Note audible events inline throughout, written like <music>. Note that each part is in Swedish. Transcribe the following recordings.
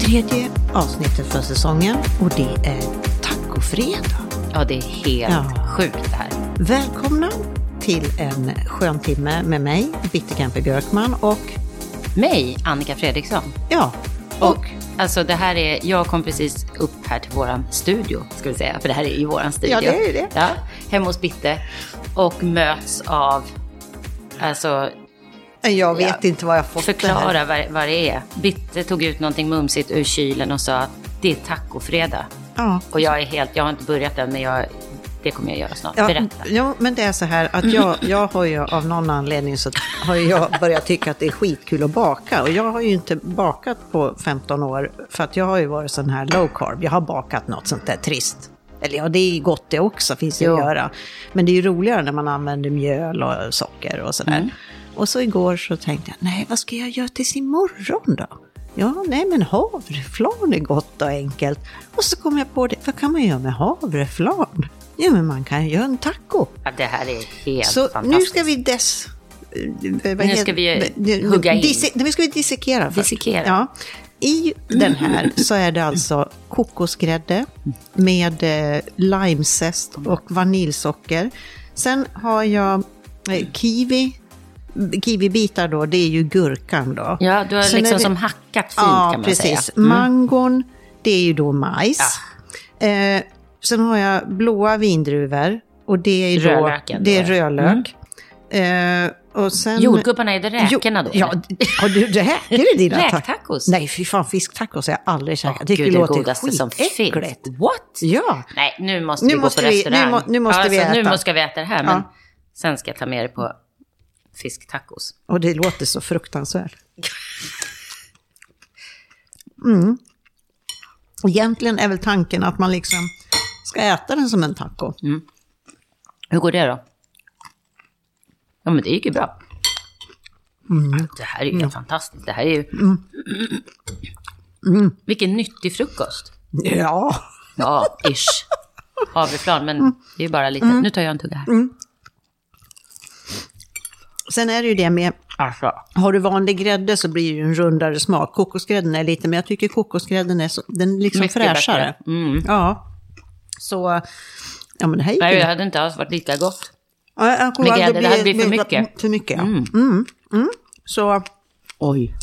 Tredje avsnittet för säsongen och det är tacofredag. Ja, det är helt Ja. sjukt det här. Välkomna till en skön timme med mig, Bitterkamper Björkman och Mig, Annika Fredriksson. ja, Och, alltså det här är, jag kom precis upp här till våran studio, ska vi säga, för det här är ju våran studio. Ja, det är ju det. Ja, hemma hos Bitte. Och möts av, alltså jag vet Ja. inte vad jag fått det här. förklara vad, vad det är. Bitte tog ut någonting mumsigt ur kylen och sa att det är tacofredag. Ja. Och jag är helt, jag har inte börjat än, men jag, det kommer jag göra snart. Ja, Berätta. jo, men det är så här att jag, jag har ju av någon anledning så har ju jag börjat tycka att det är skitkul att baka. Och jag har ju inte bakat på 15 år för att jag har ju varit sån här low carb. Jag har bakat något sånt där trist. Eller ja, det är gott det också, finns det Jo. att göra. Men det är ju roligare när man använder mjöl och socker och sådär. Och så igår så tänkte jag, nej vad ska jag göra tills imorgon då? Ja, nej men havreflarn är gott och enkelt. Och så kom jag på det, vad kan man göra med havreflarn? Ja, men man kan göra en taco. Ja, det här är helt Så nu fantastiskt. ska vi dess... eh, vad Nu ska vi hugga in. Disse, nej, nu ska vi dissekera först. Dissekera. Ja. I den här så är det alltså kokosgrädde med eh, limezest och vaniljsocker. Sen har jag eh, kiwi. Kiwibitar då, det är ju gurkan då. Ja, du har Sen är liksom det- som hackat fint Ja, kan man precis. säga. Mm. Mangon, det är ju då majs. Eh, sen har jag blåa vindruvor och det är ju då, Rödlöken det är då, ja. rödlök. Eh, och sen... Jordgubbarna, är det räkorna då? Jo, ja, eller? d- har du räkor i <laughs> dina tac- Räktacos? Nej, fy fan, fisktacos har jag aldrig käkat. Åh, Jag tycker Gud, det det låter godaste som finns. skitäckligt. What? Ja, Nej, nu måste Nu vi måste gå på vi- restaurang. nu må- nu måste vi alltså, Nu äta. måste vi äta det här, men Ja. sen ska jag ta med dig på fisktacos. och det låter så <laughs> fruktansvärt. Mm. Egentligen är väl tanken att man liksom ska äta den som en taco. Hur går det då? Ja, men det gick ju bra. Mm. Det här är ju helt fantastiskt. Det här är ju... Mm. Vilken nyttig frukost. Ja. Ja, ish. Havreflarn, men Mm. det är ju bara lite. Nu tar jag en tugga här. Sen är det ju det med, Alltså. har du vanlig grädde så blir det ju en rundare smak. Kokosgrädden är lite, men jag tycker kokosgrädden är, så, den är liksom Mycket fräschare. bättre. Mm. Ja. Så, ja men det här gick Nej, ju det hade inte alls varit lika gott. Ja, jag tror Med att grädde, det hade blivit för mycket. För mycket, ja. Mm. Mm. Så, Mm. Oj.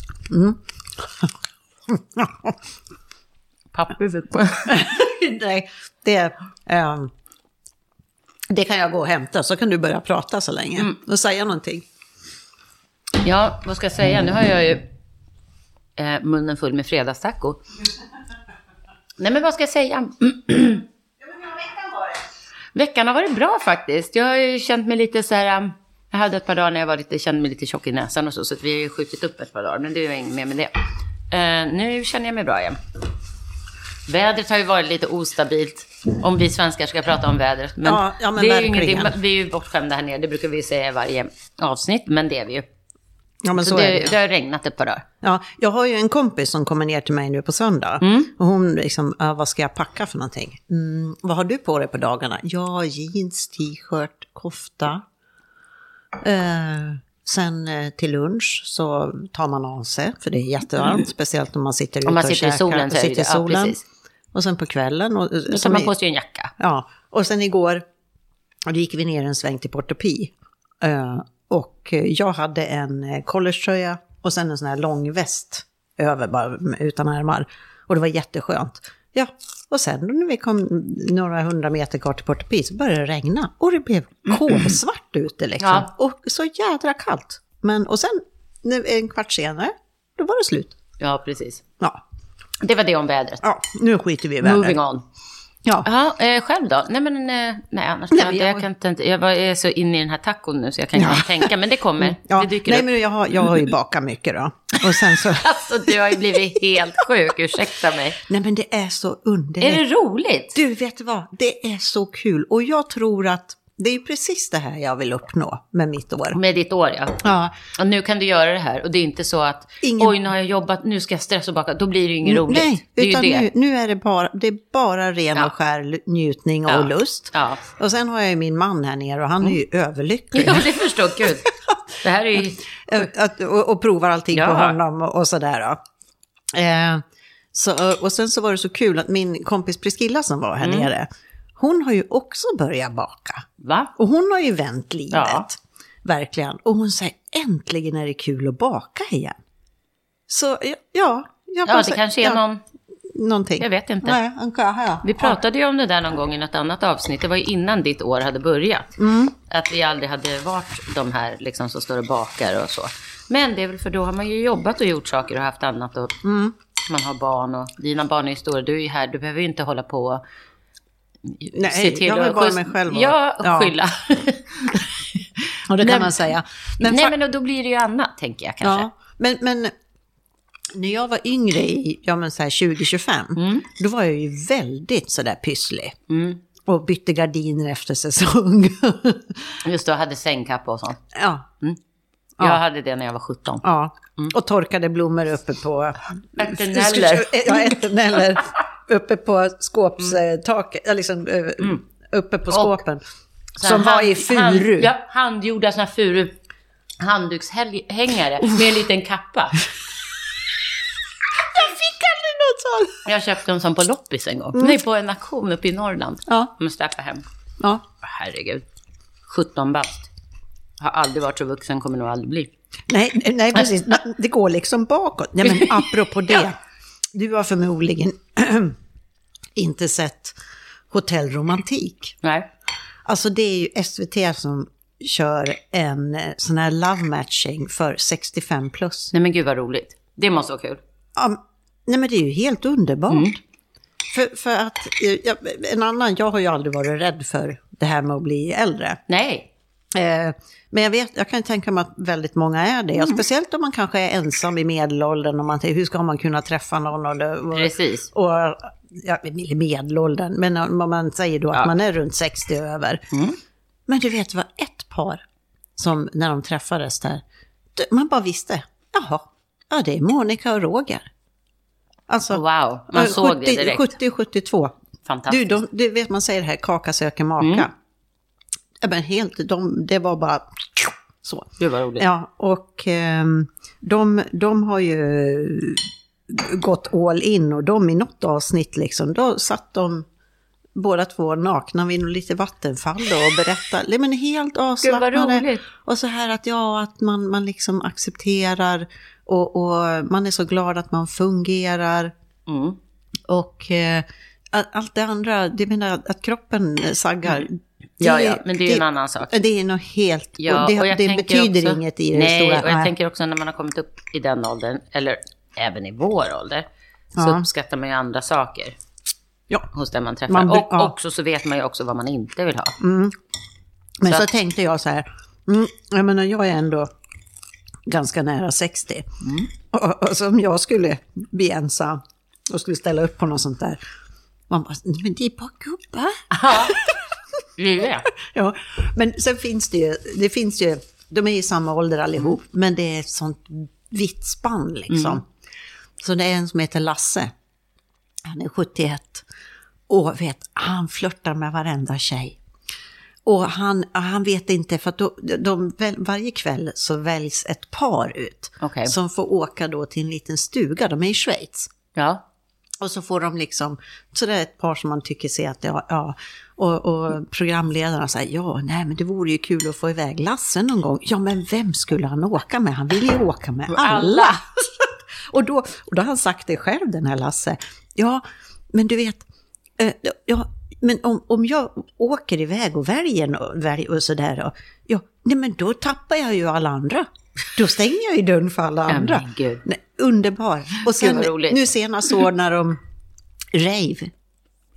Papper fick på. <laughs> nej, det, ehm, det kan jag gå och hämta, så kan du börja prata så länge Mm. och säga någonting. Ja, vad ska jag säga? Nu har jag ju eh, munnen full med fredagstaco. Nej, men vad ska jag säga? <clears throat> Veckan har varit bra faktiskt. Jag har ju känt mig lite så här... um, Jag hade ett par dagar när jag var lite, kände mig lite tjock i näsan och så, så att vi har ju skjutit upp ett par dagar, men det är ju inget mer med det. Eh, nu känner jag mig bra igen. Vädret har ju varit lite ostabilt, om vi svenskar ska prata om vädret. Men, Ja, ja, men det är ju ingenting, verkligen. vi är ju bortskämda här nere, det brukar vi ju säga i varje avsnitt, men det är vi ju. Ja, men så, Så är det. det, det har regnat ett par dagar. Ja, jag har ju en kompis som kommer ner till mig nu på söndag. Mm. Och hon liksom, "Ah, vad ska jag packa för någonting? Mm, vad har du på dig på dagarna? Ja, jeans, t-shirt, kofta. Eh, sen eh, till lunch så tar man av sig, för det är jättevarmt. Speciellt om man sitter ute Mm. Om man och sitter i käkar solen så och är det sitter i det. Ja, solen. precis. och sen på kvällen. Och, eh, Då tar som man i- på sig en jacka. Ja, och sen igår och då gick vi ner en sväng till Portopi. Eh, och eh, jag hade en eh, collegetröja och sen en sån här lång väst över, bara med- utan ärmar. Och det var jätteskönt. Ja, och sen när vi kom några hundra meter kvar till Portopi så började det regna. Och det blev <clears throat> kolsvart ute liksom. Ja. Och så jädra kallt. Men, och sen när- en kvart senare, då var det slut. Ja, precis. Ja, Det var det om vädret. ja nu skiter vi i vädret. Moving on. Ja. Ja, eh, själv då? Nej, men eh, nej, annars Nej, men kan jag, inte- jag- jag, kan inte- inte, jag var- är så inne i den här tacon nu så jag kan inte tänka, men det <laughs> kommer. Ja, Det dyker nej, upp. men jag har, jag har ju bakat mycket då. Och sen <laughs> så, Alltså, du har ju blivit helt sjuk, ursäkta mig. nej men det är så <laughs> Är det underligt. roligt? Du, vet du vad? Det är så kul. Och jag tror att Det är ju precis det här jag vill uppnå med mitt år. Med ditt år, ja. Ja, Och nu kan du göra det här. Och det är inte så att, Ingen- oj, nu har jag jobbat, nu ska jag stressa och baka. Då blir det ju inget roligt. Nej, det är utan ju det. Nu, nu är det bara, det är bara ren Ja. och skär l- njutning och Ja. lust. Ja. <laughs> Mm. Och sen har jag ju min man här nere och han är ju överlycklig. ja, det förstår <laughs> Gud. Det här är ju... Eh, Att, och, och provar allting på Ja. honom och, och sådär. Då. Eh, så, och sen så var det så kul att min kompis Priscilla som var här Mm. nere, hon har ju också börjat baka. Va? Och hon har ju vänt livet, Ja. verkligen. Och hon säger äntligen är det kul att baka igen. Så ja, ja, jag bara Ja, det säger- kanske är ja, någon... någonting. Jag vet inte. Nej, en kaha, ja. Vi pratade ju om det där någon gång i något annat avsnitt. Det var ju innan ditt år hade börjat. Mm. Att vi aldrig hade varit de här liksom, som står och bakar och så. Men det är väl för då har man ju jobbat och gjort saker och haft annat. Och Mm. Man har barn och dina barn är ju stora. Du är ju här, du behöver ju inte hålla på och Nej, jag vill att- vara mig själv och- Ja, Ja. och skylla. Och det kan Nej, man säga. <laughs> Men, fa- Nej, men då- då blir det ju annat, tänker jag kanske. ja, men, men när jag var yngre, i ja, men så här 20-25, Mm. då var jag ju väldigt sådär pysslig. Och bytte gardiner efter säsong. <laughs> Just då, jag hade sängkappa och sånt. ja, Jag Ja. hade det när jag var 17. ja. Mm. Och torkade blommor uppe på... Mm. Ärtenäller. Ja, ärtenäller. uppe på skåpstaket, mm. liksom, eh, uppe på skåpen. Så här som var i Hand, furu. <laughs> hand, ja, handgjorda såna här furu handdukshängare med en liten kappa. Jag fick aldrig något sånt. Jag köpte dem som på loppis en gång. Nej, på en auktion uppe i Norrland. Ja. De släpade hem. Ja. Herregud. 17 bast. Har aldrig varit så vuxen, kommer nog aldrig bli. Nej, nej, precis. Na- Det går liksom bakåt. Nej, men apropå det. Du har förmodligen <clears throat> inte sett Hotell Romantik. Nej. Alltså det är ju SVT som kör en eh, sån här love matching för 65 plus. Nej men gud vad roligt. Det måste vara kul. Ja, nej men det är ju helt underbart. För, för att, eh, jag, en annan, jag har ju aldrig varit rädd för det här med att bli äldre. Nej. Eh, Men jag, vet, jag kan ju tänka mig att väldigt många är det. Mm. Och Speciellt om man kanske är ensam i medelåldern. Och man tänker, hur ska man kunna träffa någon? Och, det- och, Precis. och ja, i medelåldern, men om man säger då att Ja. Mm. man är runt 60 och över. Men du vet, det var ett par som när de träffades där, d- man bara visste, jaha, ja det är Monica och Roger. Alltså, Wow. Man såg det direkt. 70-72. Du, Fantastiskt. Mm. de, du vet, man säger det här, kaka söker maka. Ja, men helt, de, det var bara så. Gud vad roligt. Ja, och ehm, de, de har ju gått all in och de i något avsnitt liksom, då satt de båda två nakna vid lite vattenfall då och berättade, nej men helt avslappnade. roligt. Och så här att ja, att man, man liksom accepterar och, och man är så glad att man fungerar. Mm. Och eh, all- allt det andra, det menar jag, att kroppen saggar. Ja, det- Mm. ja, men det är ju en annan sak. Det är något helt, Ja, och det, och jag det tänker betyder också- inget i det nej, stora. och jag tänker också när man har kommit upp i den åldern, eller även i vår ålder, så Ja. uppskattar man ju andra saker ja. hos den man träffar. Man blir- och ja. Mm. också så vet man ju också vad man inte vill ha. Men Så så, att- tänkte jag så här, mm, jag menar jag är ändå ganska nära 60. Mm. Och, och, och så om jag skulle bli ensam och skulle ställa upp på något sånt där, man bara, "Nej, men det är bara gubbar. Det är ju det. <laughs> Ja, men sen finns det ju, det finns ju, de är i samma ålder allihop, men det är ett sånt vitt spann liksom. Så det är en som heter Lasse, han är 71, och vet, han flörtar med varenda tjej. Och han, han vet inte, för att då, de, väl- varje kväll så väljs ett par ut. Okej. Som får åka då till en liten stuga, de är i Schweiz. Ja. Och så får de liksom, så det är ett par som man tycker ser att, ja, ja. Och, och programledarna säger, ja, nej men det vore ju kul att få iväg Lasse någon gång. Ja, men vem skulle han åka med? Han vill ju åka med alla. <laughs> och, då, och då har han sagt det själv, den här Lasse. Ja, men du vet, eh, ja, men om, om jag åker iväg och väljer, nå- väljer och sådär, då, ja, nej men då tappar jag ju alla andra. Då stänger jag ju dörren för alla andra. men gud. Nej, underbar. Och Gud, sen vad roligt. nu senast år när de rave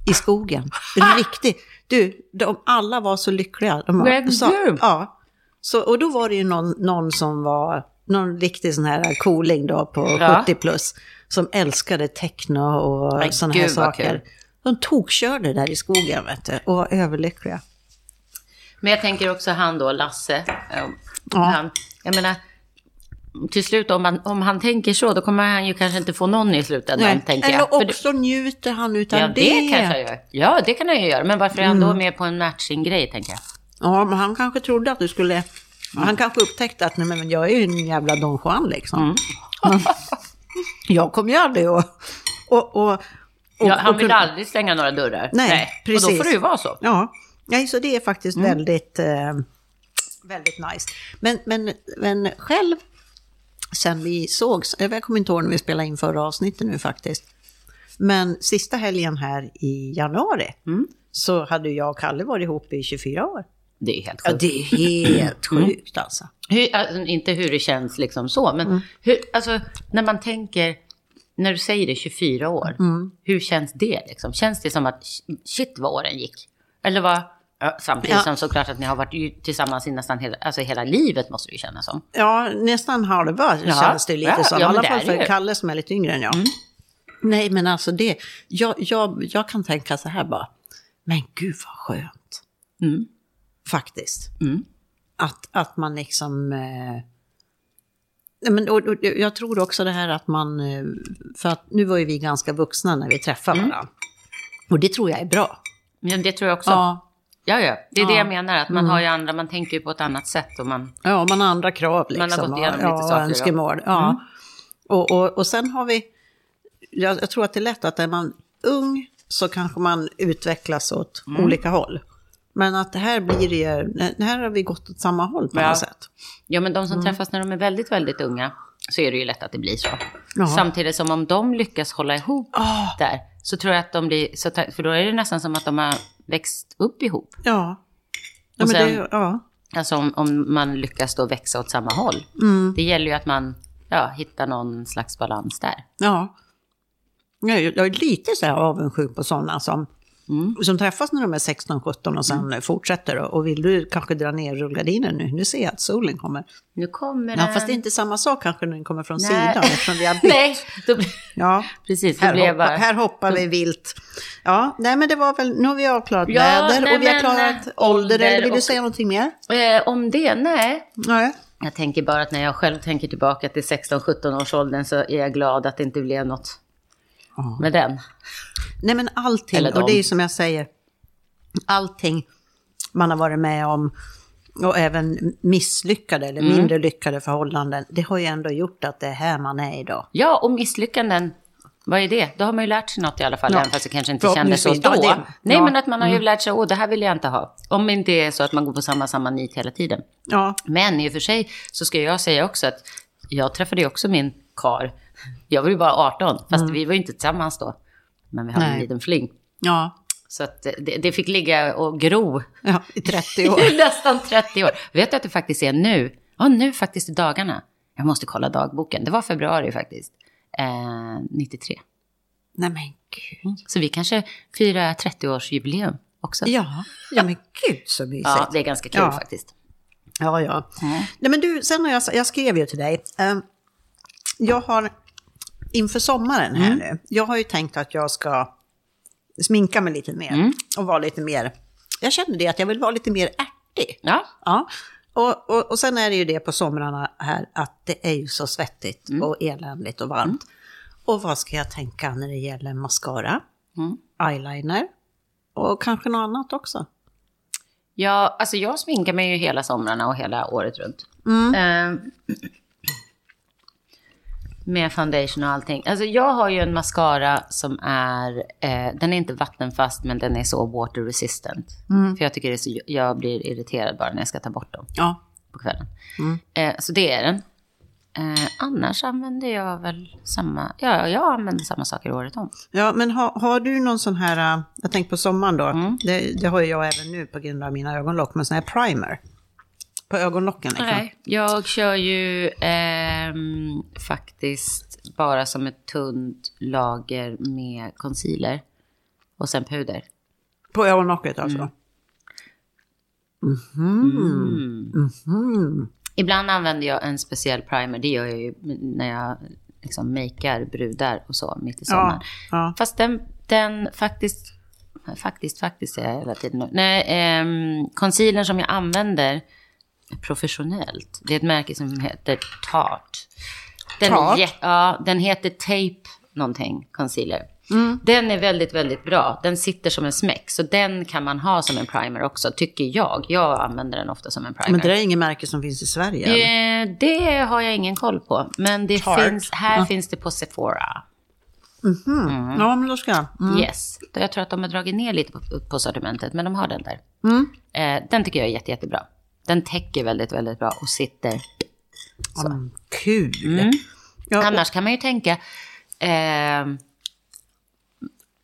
i skogen. Riktigt. Du, de alla var så lyckliga. De var, Men så, du! ja. så, och då var det ju någon, någon som var, någon riktig sån här cooling då på Ja. 70 plus, som älskade techno och Men sådana gud, här vad saker. kul. De tokkörde där i skogen vet du, och var överlyckliga. Men jag tänker också han då, Lasse. eh, Ja. Han, jag menar, till slut om han, om han tänker så, då kommer han ju kanske inte få någon i slutändan, tänker jag. Eller För det- också njuter han utav Ja, det. Mm. det kanske han gör. Ja, det kan han ju göra. Men varför är han då med på en matching-grej, tänker jag? Ja, men han kanske trodde att du skulle... Han kanske upptäckte att nej, men jag är ju en jävla Don Juan liksom. Men jag kommer ju aldrig att... Och, och, och, ja, han och- vill aldrig stänga några dörrar. Nej, precis. Och då får det ju vara så. Ja, nej, så det är faktiskt väldigt, eh, väldigt nice. Men, men, men själv, sen vi sågs, jag kommer inte ihåg när vi spelade in förra avsnittet nu faktiskt, men sista helgen här i januari så hade jag och Kalle varit ihop i 24 år. Det är helt Ja, sjukt. det är helt sjukt alltså. Hur, alltså, inte hur det känns liksom så, men Mm. hur, alltså, när man tänker, när du säger det 24 år, Mm. hur känns det? Liksom? Känns det som att sh- shit vad åren gick? Eller vad? Ja, samtidigt Ja. som såklart att ni har varit ju tillsammans i nästan hela, alltså hela livet måste det ju kännas som. Ja, nästan halva Ja, känns det lite ja, som. I ja, men alla det fall är för det ju. Mm. Kalle som är lite yngre än jag. Nej, men alltså det, jag, jag, jag kan tänka så här bara, men gud vad skönt. Mm. Faktiskt. Mm. Att, att man liksom... Eh, nej, men, och, och, jag tror också det här att man... eh, För att nu var ju vi ganska vuxna när vi träffade Mm. varandra. Och det tror jag är bra. Men det tror jag också. Ja, Ja, ja. Ja. Det är Mm. det jag menar, att man har ju andra, man tänker ju på ett annat sätt och man... Ja, man har andra krav liksom. har gått igenom ja, lite saker, och ja. Mm. önskemål. Ja. Och, och, och sen har vi, jag, jag tror att det är lätt att är man ung så kanske man utvecklas åt Mm. olika håll. Men att det här blir det ju, det här har vi gått åt samma håll på Ja. något sätt. Ja, men de som Mm. träffas när de är väldigt, väldigt unga så är det ju lätt att det blir så. Ja. Ah. Samtidigt som om de lyckas hålla ihop där så tror jag att de blir, så ta- för då är det nästan som att de har växt upp ihop. Ja. ja, men Och sen- det, ja. Alltså om, om man lyckas då växa åt samma håll. Mm. Det gäller ju att man ja, hittar någon slags balans där. Ja. Jag är, jag är lite så här avundsjuk på sådana som, Mm. som träffas när de är 16-17 och sen fortsätter. Och, och vill du kanske dra ner rullgardinen nu? Nu ser jag att solen kommer. Nu kommer Ja, den. fast det är inte samma sak kanske när den kommer från Ehm. Nej. sidan eftersom <laughs> vi har bytt. Nej, då, blir- Ja, precis. Då här, blir jag hoppa, bara... här hoppar vi vilt. Ja, nej men det var väl, nu har vi avklarat Ja, väder nej, och vi har men, klarat eh, ålder. Eller ålder vill du och- säga någonting mer? Eh, om det? Nej. Nej. Jag tänker bara att när jag själv tänker tillbaka till 16-17 års åldern så är jag glad att det inte blev något Ja. med den. Nej men allting, Eller och det dem. är ju som jag säger, allting man har varit med om och även misslyckade eller Mm. mindre lyckade förhållanden, det har ju ändå gjort att det är här man är idag. Ja, och misslyckanden, vad är det? Då har man ju lärt sig något i alla fall, Ja. även fast det kanske inte Ja, kändes så precis. då. Ja, det- Nej, ja. Mm. men att man har ju lärt sig, åh, det här vill jag inte ha. Om det inte är så att man går på samma, samma nit hela tiden. Ja, Men i och för sig så ska jag säga också att jag träffade ju också min kar. Jag var ju bara 18, fast vi var ju inte tillsammans då. Men vi hade Mm. Nej. en liten fling. ja, Så att eh, det, det fick ligga och gro ja i 30 <laughs> år. i nästan 30 år. Vet du att det faktiskt är nu? Ja, nu faktiskt i dagarna. Jag måste kolla dagboken. Det var februari faktiskt. Eh, 93. nej men gud. Så vi kanske firar 30-årsjubileum också. Ja, ja men gud så mysigt. Ja, det är ganska kul Ja. faktiskt. Ja, ja. Nej, men du, sen har jag, jag skrev ju till dig. Eh, jag har inför sommaren här nu, jag har ju tänkt att jag ska sminka mig lite mer och vara lite mer, jag känner det att jag vill vara lite mer ärtig. Ja, Ja. Och, och, och sen är det ju det på somrarna här att det är ju så svettigt och eländigt och varmt. Och vad ska jag tänka när det gäller mascara, eyeliner och kanske något annat också? ja alltså jag sminkar mig ju hela somrarna och hela året runt. Eh, med foundation och allting. Alltså jag har ju en mascara som är, eh, den är inte vattenfast men den är så water resistant. För jag tycker det är så, jag blir irriterad bara när jag ska ta bort dem. Ja, på kvällen. Eh, så det är den. Eh, annars använder jag väl samma, ja, jag använder samma saker året om. Ja, men har, har du någon sån här, äh, jag tänkte på sommaren då, Mm. det, det har ju jag även nu på grund av mina ögonlock, men sån här primer. På ögonlocken liksom. Nej, jag kör ju ehm, faktiskt bara som ett tunt lager med concealer och sen puder. På ögonlocket alltså. Mm, Ibland använder jag en speciell primer, det gör jag ju när jag liksom makear brudar och så mitt i sommaren. Ja, ja. Fast den, den faktiskt, Nej, Faktiskt, faktiskt säger jag hela tiden nu. Nej, ehm, concealern som jag använder professionellt, det är ett märke som heter Tarte. Den, Tarte? jä- ja, den heter Tape någonting, concealer. Mm. Den är väldigt, väldigt bra. Den sitter som en smäck, så den kan man ha som en primer också, tycker jag. Jag använder den ofta som en primer. Men det där är inget märke som finns i Sverige. eller? Eh, det har jag ingen koll på, men det Tarte. finns, här finns det på Sephora. Ja, men då ska jag. Mm. Yes. Jag tror att de har dragit ner lite på, på sortimentet, men de har den där. Mm. Eh, den tycker jag är jätte, jättebra. Den täcker väldigt, väldigt bra och sitter. Ja, men kul! Mm. Ja, och, Annars kan man ju tänka, eh,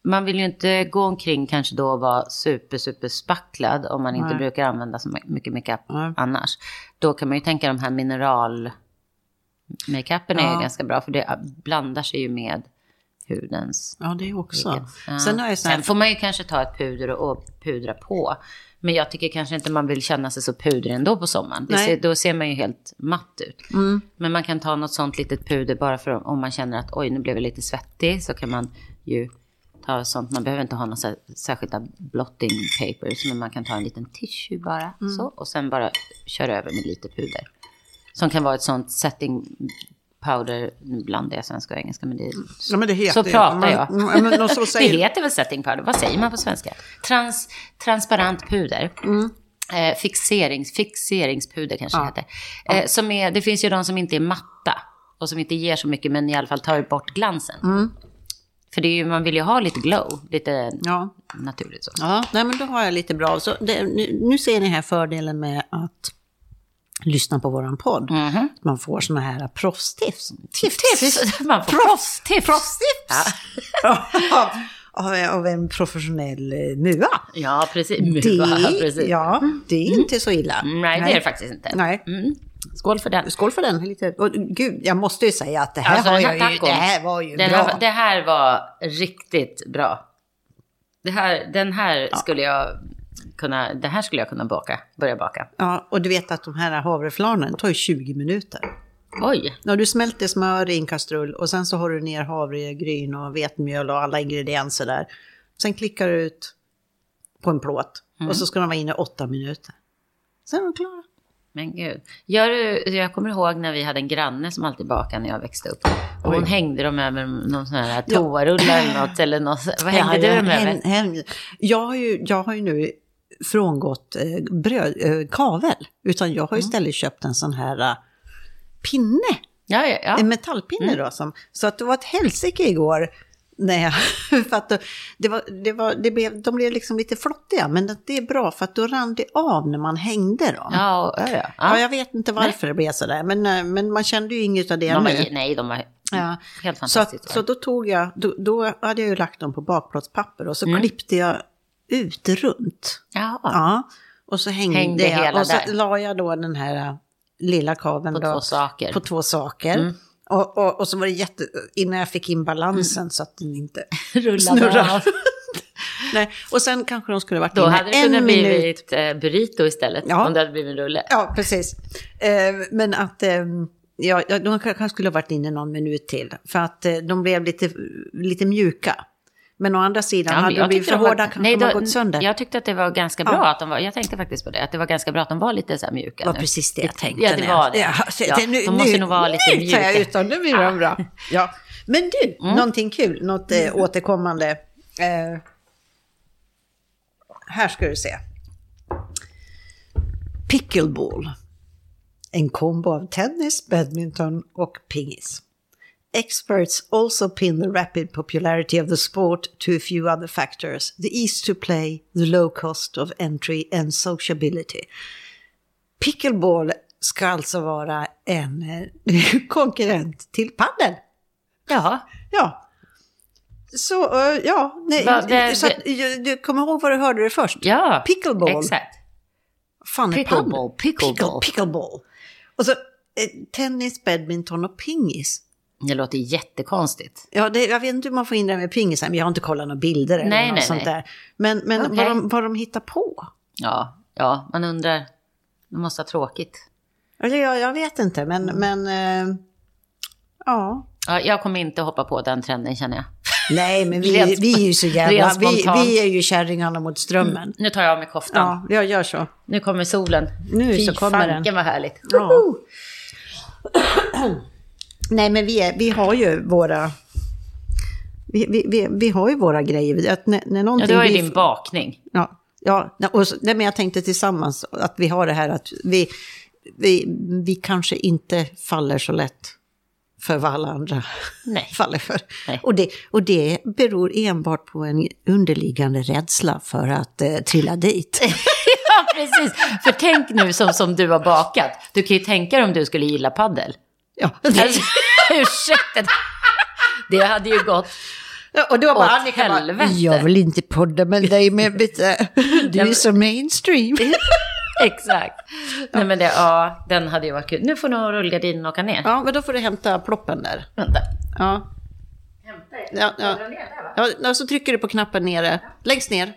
man vill ju inte gå omkring kanske då och vara super, super spacklad om man inte brukar använda så mycket makeup Nej. annars. Då kan man ju tänka de här mineral makeupen är Ja. ju ganska bra för det ah, blandar sig ju med hudens ja, det också. Ja. Sen har jag så Sen här, får man ju kanske ta ett puder och, och pudra på. Men jag tycker kanske inte man vill känna sig så pudrig ändå på sommaren. Det Nej. Mm. ser, då ser man ju helt matt ut. Men man kan ta något sånt litet puder bara för om- om man känner att oj, nu blev jag lite svettig. Så kan man ju ta sånt. Man behöver inte ha några sär- särskilda blotting papers. Men man kan ta en liten tissue bara. Mm. Så, och sen bara köra över med lite puder. Som kan vara ett sånt setting powder. Nu blandar jag svenska och engelska. Men det är ja, men det heter så ju- pratar men, jag. Ja, men, <laughs> och så säger, Det heter väl setting powder? Vad säger man på svenska? Trans, transparent puder. Mm. Eh, fixerings, fixeringspuder kanske det heter. Eh, som är, det finns ju de som inte är matta och som inte ger så mycket men i alla fall tar bort glansen. För det är ju, man vill ju ha lite glow, lite Mm. Ja. naturligt så. Ja, nej, men då har jag lite bra. Så det, nu, nu ser ni här fördelen med att lyssna på våran podd. Mm-hmm. Man får såna här proffstips. Tips! <laughs> Man får proffstips! Proffstips! Ja. <laughs> av, av en professionell eh, mua. Ja, precis. Det, <laughs> Ja, precis. Mm. ja, det är inte så illa. Nej, det är det faktiskt inte. Nej. Mm. Skål för den. Skål för den. Lite. Och, gud, jag måste ju säga att det här, Alltså, har den här jag ju, tacon. det här var ju Den bra. här, det här var riktigt bra. Det här, den här skulle jag kunna, det här skulle jag kunna baka, börja baka. Ja, och du vet att de här havreflarnen tar ju 20 minuter. Oj, När du smälter smör i en kastrull och sen så har du ner havregryn och vetemjöl och alla ingredienser där. Sen klickar du ut på en plåt Mm. och så ska de vara inne i åtta minuter. Sen är de klara. men gud. Gör, du- jag kommer ihåg när vi hade en granne som alltid bakade när jag växte upp. Och hon hängde dem över någon sån här toarullar eller något, eller något. Vad hängde du Ja, dem över? hem- hem- jag, har ju, jag har ju nu frångått eh, bröd, eh, kavel, utan jag har ju istället köpt en sån här eh, pinne Ja, ja, ja. Mm. en metallpinne då. Som, så att det var ett helsike igår. när jag <laughs> för att då, det var, det var, det blev, de blev liksom lite flottiga, men det- det är bra för att då rann det av när man hängde dem. Ja. Ja, och, ja, Ja, ja. jag vet inte varför det blev sådär, men, eh, men man kände ju inget av det De nu. var, nej, de var Ja. helt Så, att, fantastiska. så då tog jag, då, då hade jag ju lagt dem på bakplåtspapper och så Mm. klippte jag ut runt. ja, Ja, och så hängde, Hängde jag. hela Och så där. la jag då den här ä, lilla kaveln på då, två saker. Mm. på två saker. Och, och, och så var det jätte, innan jag fick in balansen Mm. så att den inte Rullade snurrade. av. Nej. Och sen kanske de skulle varit Då inne hade det en kunnat minut. blivit eh, burrito istället, Ja. om det hade blivit en rulle. Ja, precis. Eh, men att eh, ja, ja, de kanske skulle ha varit inne någon minut till. För att eh, de blev lite, lite mjuka. Men å andra sidan, men hade de jag blivit tyckte för de var- hårda kanske de hade gått sönder. Jag tyckte att det var ganska bra att de var, jag tänkte faktiskt på det, att det var ganska bra att de var lite så här mjuka Det var nu. precis det jag tänkte. Ja, det när jag- var det. Ja, så Ja, det- nu, de måste nu, nog vara lite nu tar jag mjuka. Mm. ut dem, nu blir de <laughs> bra. Ja. Men du, någonting kul, något eh, återkommande. Eh, här ska du se. Pickleball. En kombo av tennis, badminton och pingis. Experts also pin the rapid popularity of the sport to a few other factors. The ease to play, the low cost of entry and sociability. Pickleball ska alltså vara en eh, <laughs> konkurrent till padel. Jaha. Ja. Så, eh, ja. Nej, Va- det- så att, eh, du kommer ihåg vad du hörde det först? Ja, Pickleball. exakt. Fan, är Pickleball, padel? pickleball. Pickle, pickleball. Och så eh, tennis, badminton och pingis. Det låter jättekonstigt. Ja, det, jag vet inte hur man får in det här med pingisen, men jag har inte kollat några bilder eller Nej, något nej, sånt nej. där. Men, men Okej. vad, de, vad de hittar på. Ja, ja, man undrar. De måste ha tråkigt. Eller jag, jag vet inte, men, men eh, ja. Ja, jag kommer inte hoppa på den trenden känner jag. Nej, men vi, Rent- vi är ju så jävla... rent Vi, spontant. vi är ju kärringarna mot strömmen. Nu tar jag av mig koftan. Ja, jag gör så. Nu kommer solen. Nu Fy så kommer fanken den. vad härligt. Ja. <clears throat> Nej, men vi, är, vi har ju våra... Vi, vi, vi, vi har ju våra grejer. Att när, när Ja, någonting du har ju blir- din bakning. Ja, ja nej, och så, nej, men jag tänkte tillsammans att vi har det här att vi, vi, vi kanske inte faller så lätt för vad alla andra Nej. <laughs> faller för. Nej. Och det, och det beror enbart på en underliggande rädsla för att eh, trilla <laughs> dit. Ja, precis. För tänk nu som, som du har bakat. Du kan ju tänka dig om du skulle gilla paddel. Ja. Alltså, <laughs> ursäkta. Det hade ju gått. Och då bara Åt Annika bara, helvete. jag vill inte podda med dig men <laughs> bitte, du är så mainstream. Exakt. Nej men det, ja, den hade ju varit kul. Nu får nog rullgardinen åka ner. Ja, men då får du hämta ploppen där. Vänta. Ja. Ja, ja. ja, ja, så trycker du på knappen nere, längst ner.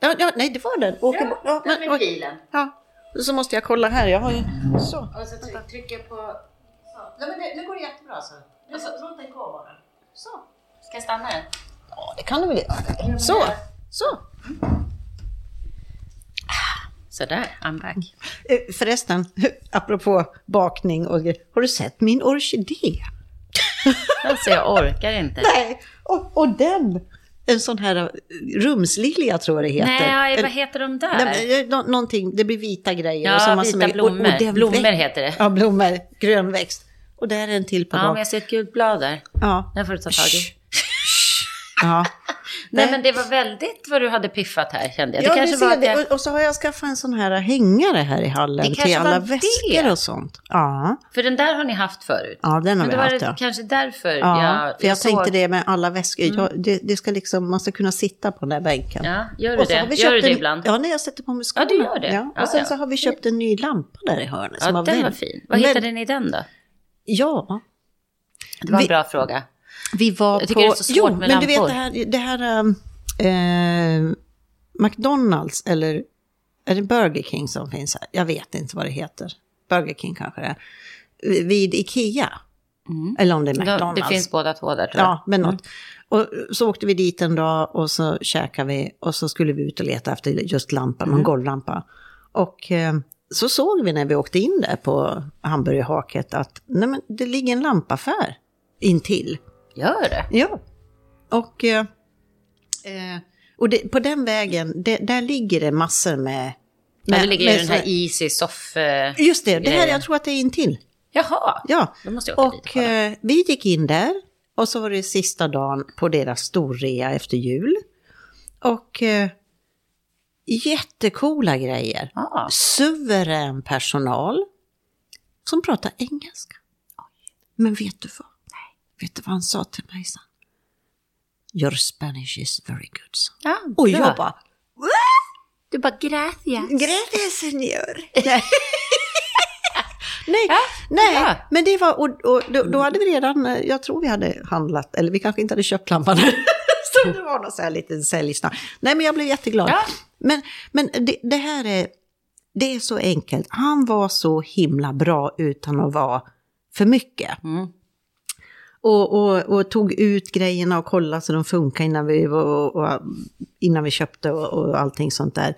Ja, ja, nej, det var den. Åker bort. ja, men, oj. pilen. ja. Så måste jag kolla här, jag har ju... Så. Och så tryck- trycker jag på... Så. Nej, men det, nu går det jättebra alltså. Låt den gå bara. Så. Ska jag stanna den? Ja, det kan du väl göra. Så, så. Sådär, I'm back. Eh, Förresten, apropå bakning och grejer. Har du sett min orkidé? Alltså jag orkar inte. Nej, och, och den! En sån här eh, rumslilja tror jag det heter. Nej, En- vad heter de där? Nej, men, eh, nå- Någonting, det blir vita grejer. Ja, och så vita massor med- blommor. den Blommor växt- heter det. Ja, blommor. Grön växt. Och där är en till på ja, men gång. jag ser ett gult blad där. Ja. Den får du ta tag i. Shh. ja. Nej, men det var väldigt vad du hade piffat här kände jag. Det ja, kanske du ser var att det. jag, Och, och så har jag skaffat en sån här hängare här i hallen Det till kanske var alla det. väskor och sånt. Ja, För den där har ni haft förut. ja den har men vi då var haft. det Ja. kanske därför Ja, jag, för jag, såg- tänkte det med alla väskor. Jag, det, det ska liksom, man ska kunna sitta på den där bänken. Mm. Ja, gör du Och så har det? vi Gör du köpt det en, ibland? Ja, när jag sätter på mig Ja, skorna. du gör det. Ja. Ja, Och sen ja. så har vi köpt en ny lampa där i hörnet. Ja, som den vänt- var fin. Vad vänt- hittade ni den då? Ja, Det var en Vi- bra fråga. vi var Jag på... tycker det är så svårt jo, med men du vet lampor. det här, det här um, eh, McDonalds eller är det Burger King som finns här? Jag vet inte vad det heter. Burger King kanske det är. Vid Ikea. Eller om det är De, McDonalds. Mm. det finns båda två där tror jag. Ja, men något. Och så åkte vi dit en dag och så käkade vi och så skulle vi ut och leta efter just lampa, Mm. någon golvlampa. Och eh, så såg vi när vi åkte in där på hamburgerhaket att nej men, det ligger en lampaffär intill. Gör det? Ja. Och, eh, eh, och det, på den vägen, det, där ligger det massor med... Men, det ligger ju den så- här Easy Soft... eh, Just det, det här, grejen. jag tror att det är intill. Jaha, Ja. då måste jag åka dit och Och kolla. eh, vi gick in där och så var det sista dagen på deras storrea efter jul. Och eh, jättecoola grejer. Ja. Suverän personal som pratar engelska. Men vet du vad? Vet du vad han sa till mig sen? Your Spanish is very good son. Ja, Och bra. jag bara, Du bara gracias. Gracias señor. Nej, <laughs> nej, Ja, nej. ja. men det var, och, och då, då hade vi redan, eh, jag tror vi hade handlat, eller vi kanske inte hade köpt lampan. <laughs> så det var någon så här liten säljsnack. Nej, men jag blev jätteglad. Ja. Men, men det, det här är, det är så enkelt. Han var så himla bra utan att vara för mycket. Mm. Och, och, och tog ut grejerna och kollade så de funkar innan vi, var- och, och, innan vi köpte och, och allting sånt där.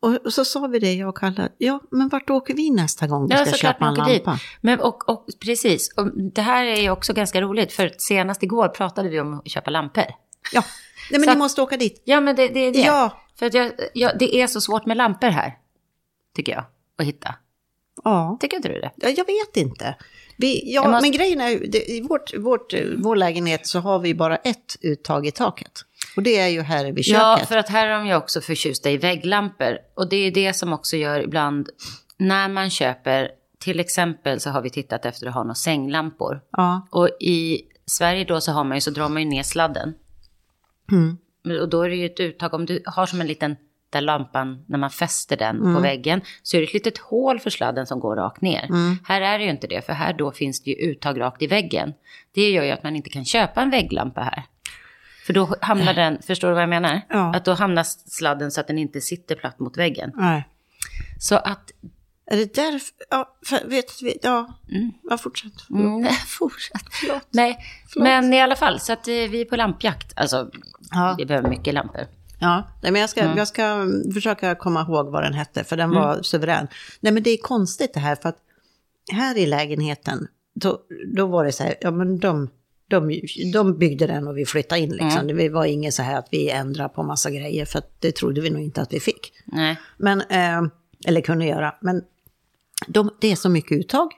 Och, och så sa vi det, jag och Kalle, ja men vart åker vi nästa gång vi Ja, ska såklart köpa en man åker dit. lampa? Men och, och precis, och det här är ju också ganska roligt för senast igår pratade vi om att köpa lampor. Ja, nej men Så- ni måste åka dit. Ja, men det, det är det. Ja. För att jag, jag, det är så svårt med lampor här, tycker jag, att hitta. Ja, Tycker inte du det? Ja, jag vet inte. Vi, ja, Jag måste- Men grejen är ju, det- i vårt, vårt, eh, vår lägenhet så har vi bara ett uttag i taket. Och det är ju här vid köket. Ja, för att här är de ju också förtjusta i vägglampor. Och det är det som också gör ibland, när man köper, till exempel så har vi tittat efter att ha några sänglampor. ja. Och i Sverige då så har man ju, så drar man ju ner sladden. Mm. Men- Och då är det ju ett uttag, om du har som en liten, där lampan, när man fäster den Mm. på väggen, så är det ett litet hål för sladden som går rakt ner. Mm. Här är det ju inte det, för här då finns det ju uttag rakt i väggen. Det gör ju att man inte kan köpa en vägglampa här. För då hamnar den, förstår du vad jag menar? Ja. Att då hamnar sladden så att den inte sitter platt mot väggen. Nej. Så att Är det därför? Ja, för, vet, vet, ja. ja fortsätt. Mm, nej, <laughs> fortsätt. Nej, men i alla fall, så att eh, vi är på lampjakt. Alltså, Ja. vi behöver mycket lampor. Ja, nej, men jag ska, jag ska försöka komma ihåg vad den hette, för den var suverän. Nej, men det är konstigt det här, för att här i lägenheten, då, då var det så här, ja men de, de, de byggde den och vi flyttade in liksom. Det var inget så här att vi ändrade på massa grejer, för att det trodde vi nog inte att vi fick. Nej. Men, eh, eller kunde göra, men de, det är så mycket uttag.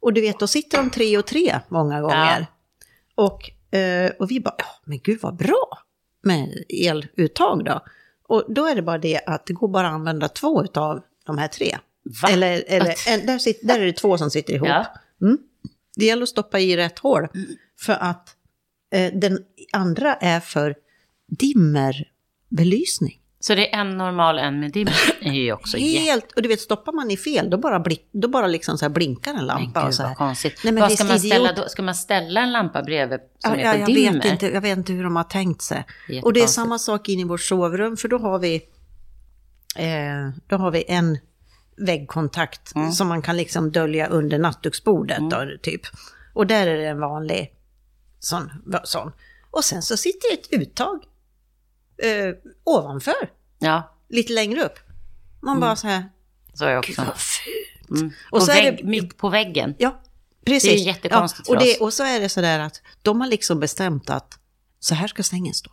Och du vet, då sitter de tre och tre många gånger. Och, eh, och vi bara, ja men gud vad bra med eluttag då. Och då är det bara det att det går bara att använda två av de här tre. Va? Eller, eller en, där, sit, där är det två som sitter ihop. Ja. Mm. Det gäller att stoppa i rätt hål. För att eh, den andra är för dimmerbelysning. Så det är en normal, en med dimmer. Det är ju också jätte... <laughs> Helt, och du vet stoppar man i fel då bara, blick, då bara liksom så här blinkar en Men lampa. och gud så här. vad konstigt. Nej, men vad visst ska man, ställa idiot. då? ska man ställa en lampa bredvid som Ja, är ja, på jag, dimmer? vet inte, jag vet inte hur de har tänkt sig. Och det är samma sak in i vårt sovrum för då har vi, eh, då har vi en väggkontakt Mm. som man kan liksom dölja under nattduksbordet. Då, typ. Och där är det en vanlig sån, va- sån. Och sen så sitter det ett uttag eh, ovanför, Ja, lite längre upp. Man Mm. bara så här, så är jag också. vad fult. Mm. Och på, så är vägg, det- mitt på väggen. Ja, precis. Det är ju jättekonstigt ja, och, för det, oss. och så är det sådär att de har liksom bestämt att så här ska sängen stå.